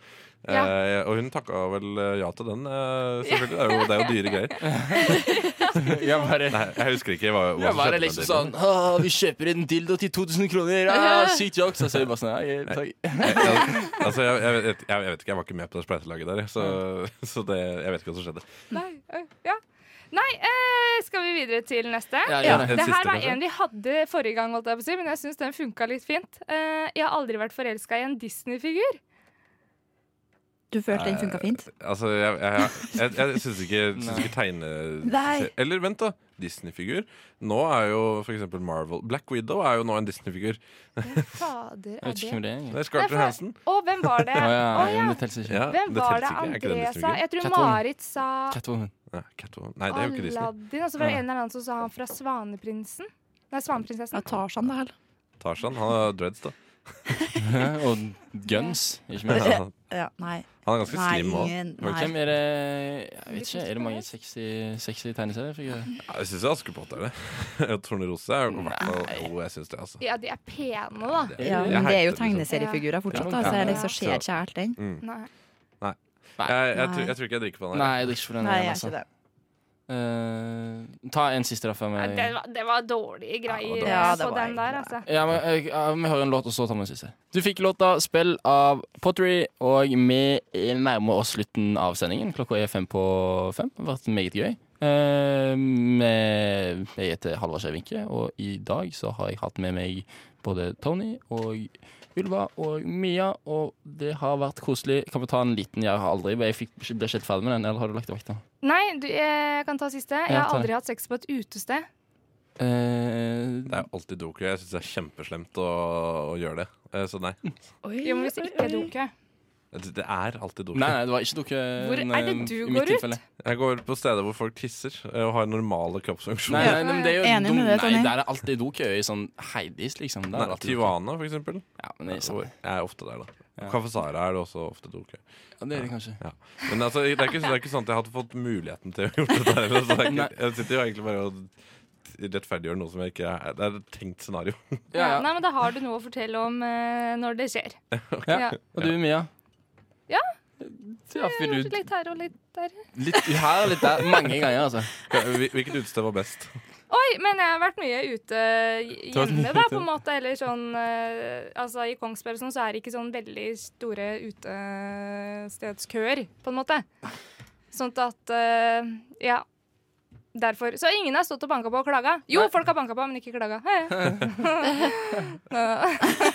Ja.
Eh, og hun takka vel eh, ja til den, eh, selvfølgelig. Det er jo, det er jo dyre greier.
Ja, bare,
Nei, jeg husker ikke hva, hva
ja, var det
skjedde med
liksom sånn
dildoen.
«Å, Vi kjøper en dildo til 2000 kroner! Ah, sykt jokes! Og så er det bare sånn ja, jeg- takk.
Altså, jeg, jeg, vet- jeg, jeg vet ikke, jeg var ikke med på det spleiselaget der, jeg, så, så det, jeg vet ikke hva som skjedde.
Nei, øh, ja. Nei eh, skal vi videre til neste?
Ja, gjør det.
En
Det
siste,
her var
kanskje?
en vi hadde forrige gang, holdt jeg på å si, men jeg syns den funka litt fint. Eh, jeg har aldri vært forelska i en Disney-figur.
Du følte den funka fint?
Altså, jeg, jeg, jeg, jeg syns ikke, syns
Nei.
ikke tegne...
Nei.
Eller vent, da. Disney-figur. Nå er jo for eksempel Marvel Black Widow er jo nå en Disney-figur.
Fader,
Jeg vet ikke hvem det er.
Det er Scarlett
Nei, for-
Johansson.
Og hvem var det?
Å ja,
Å,
ja,
ja.
men det teller ikke.
Ja,
Hvem var det
tenkte jeg ikke. Er ikke
André sa?
det Disney-figur?
Jeg tror
Catwoman.
Marit sa
Catwoman.
Nei, Catwoman. Nei, det er jo ikke Disney.
Aladdin. Og så var det
Nei.
en eller annen som sa han fra Svaneprinsen. Nei,
Ja,
Svaneprinsessen.
Tarzan, da vel.
Tarzan. Han har dreads, da.
Ja, Og guns, ikke minst.
Han
Ja, nei.
er ganske
Nei,
slim òg.
ingen-
Og
nei.
Hvem er det eh, Jeg vet ikke, er det mange sexy, sexy tegneseriefigurer?
Jeg syns Askepott er det. Og Tornerose er jo i hvert fall Jo, jeg syns det, altså.
Ja, de er pene, da.
Ja,
Jeg
men det er jo
heter det, liksom.
tegneseriefigurer fortsatt, da, så jeg liksom ser ikke helt den.
Nei.
Mm. Jeg, jeg, tror, jeg tror ikke jeg drikker på den.
Nei,
her.
jeg drikker ikke for den.
Nei,
igjen,
jeg er
altså.
ikke det.
Eh, ta en siste, da. Før
Nei,
vi
Det var, det var dårlige greier
Ja, det
på
var
den der,
egentlig
altså.
Ja, men eh, ja, Vi hører en låt, og så tar vi en siste. Du fikk låta 'Spill' av Pottery, og vi er nærmer oss slutten av sendingen. Klokka er fem på fem. Det har vært meget gøy. Eh, med- jeg heter Halvard Skjevinke, og i dag så har jeg hatt med meg både Tony og Ylva og Mia, og det har vært koselig. Kan vi ta en liten jeg har aldri? men Jeg fikk, ble ikke helt ferdig med den, eller har du lagt det vekk? da?
Nei, du, eh, jeg kan ta siste. Jeg
Ja,
har
ta
aldri hatt sex på et utested.
Eh,
Det er alltid doku. Jeg syns det er kjempeslemt å, å gjøre det. Eh, Så nei.
Jo, men hvis ikke jeg dunker.
Det det er alltid doku.
nei, nei, det var ikke noe eh,
Hvor er det du
i mitt
går ut?
tilfelle.
Jeg går på steder hvor folk tisser eh, og har normale kroppsfunksjoner.
Nei, nei, nei, men det er jo
Enig
dum,
med det,
nei,
Tony.
der er alltid dokøy i sånn Heidis, liksom. Der er
Nei,
alltid dokøy.
Tijuana, for eksempel.
Ja, men det er
Hvor
sant.
Jeg er ofte der, da.
Ja.
Kaffe Sara er det også ofte dokøy.
Ja, det er det kanskje.
Ja. Men altså, det er, ikke, det er ikke sånn at jeg hadde fått muligheten til å gjort det der. eller, så det er ikke,
Nei.
jeg sitter jo egentlig bare og rettferdiggjør noe som jeg ikke er Det er et tenkt scenario.
Ja, Nei, men Da har du noe å fortelle om eh, når det skjer. Ja.
Og du, Mia?
Ja,
Ja, vil du
kanskje litt her og litt der.
Litt her og litt der. Mange ganger, altså.
Hvilket utested var best?
Oi, men jeg har vært mye ute
Du har vært mye
hjemme, da,
ute.
på en måte. Eller sånn eh, Altså, i Kongsberg og sånn, så er det ikke sånn veldig store utestedskøer, på en måte. Sånn at eh, Ja. Derfor. Så ingen har stått og banka på og klaga. Jo, folk har banka på, men ikke klaga. Hei.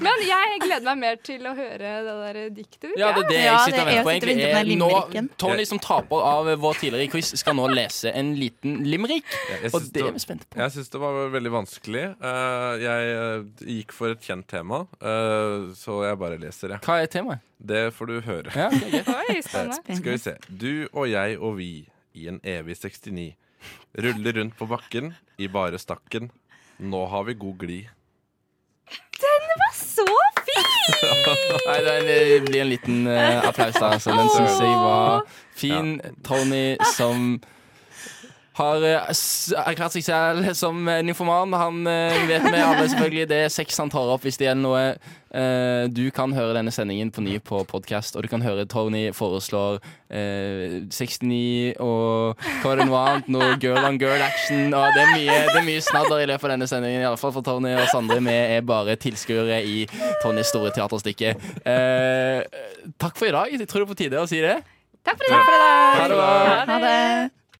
men jeg gleder meg mer til å høre det der diktet ditt.
Ja, det er det jeg sitter og venter på. egentlig er nå,
limericken.
Tony, som taper av vår tidligere quiz, skal nå lese en liten limerick.
Jeg
Og
syns
det er vi spent på.
Jeg syns det var veldig vanskelig. Eh, jeg eh, gikk for et kjent tema, eh, så jeg bare leser, jeg.
Hva er temaet?
Det får du høre.
Ja, ok, greit.
Oi, spennende.
Eh, Skal vi se. Du og jeg og vi i en evig 69 ruller rundt på bakken i bare stakken. Nå har vi god glid.
Den var så fin!
Nei, det er- det blir en liten eh, applaus der, altså. Den syns jeg var fin. Tony som har eh, s- erklært seg selv som eh, nyfoman. Han eh, vet vi alle selvfølgelig det er sex han tar opp hvis det gjelder noe. Eh, du kan høre denne sendingen på ny på podkast, og du kan høre Tony foreslår eh, 69 og hva var det noe annet? Noe girl on girl action. Og det er mye, det er mye snadder i løpet av denne sendingen, iallfall for Tony og Sondre. Vi er bare tilskuere i Tonys store teaterstykke. Eh, takk for i dag. Jeg tror det er på tide å si det.
Takk for i dag.
Ha det bra.
Ha det.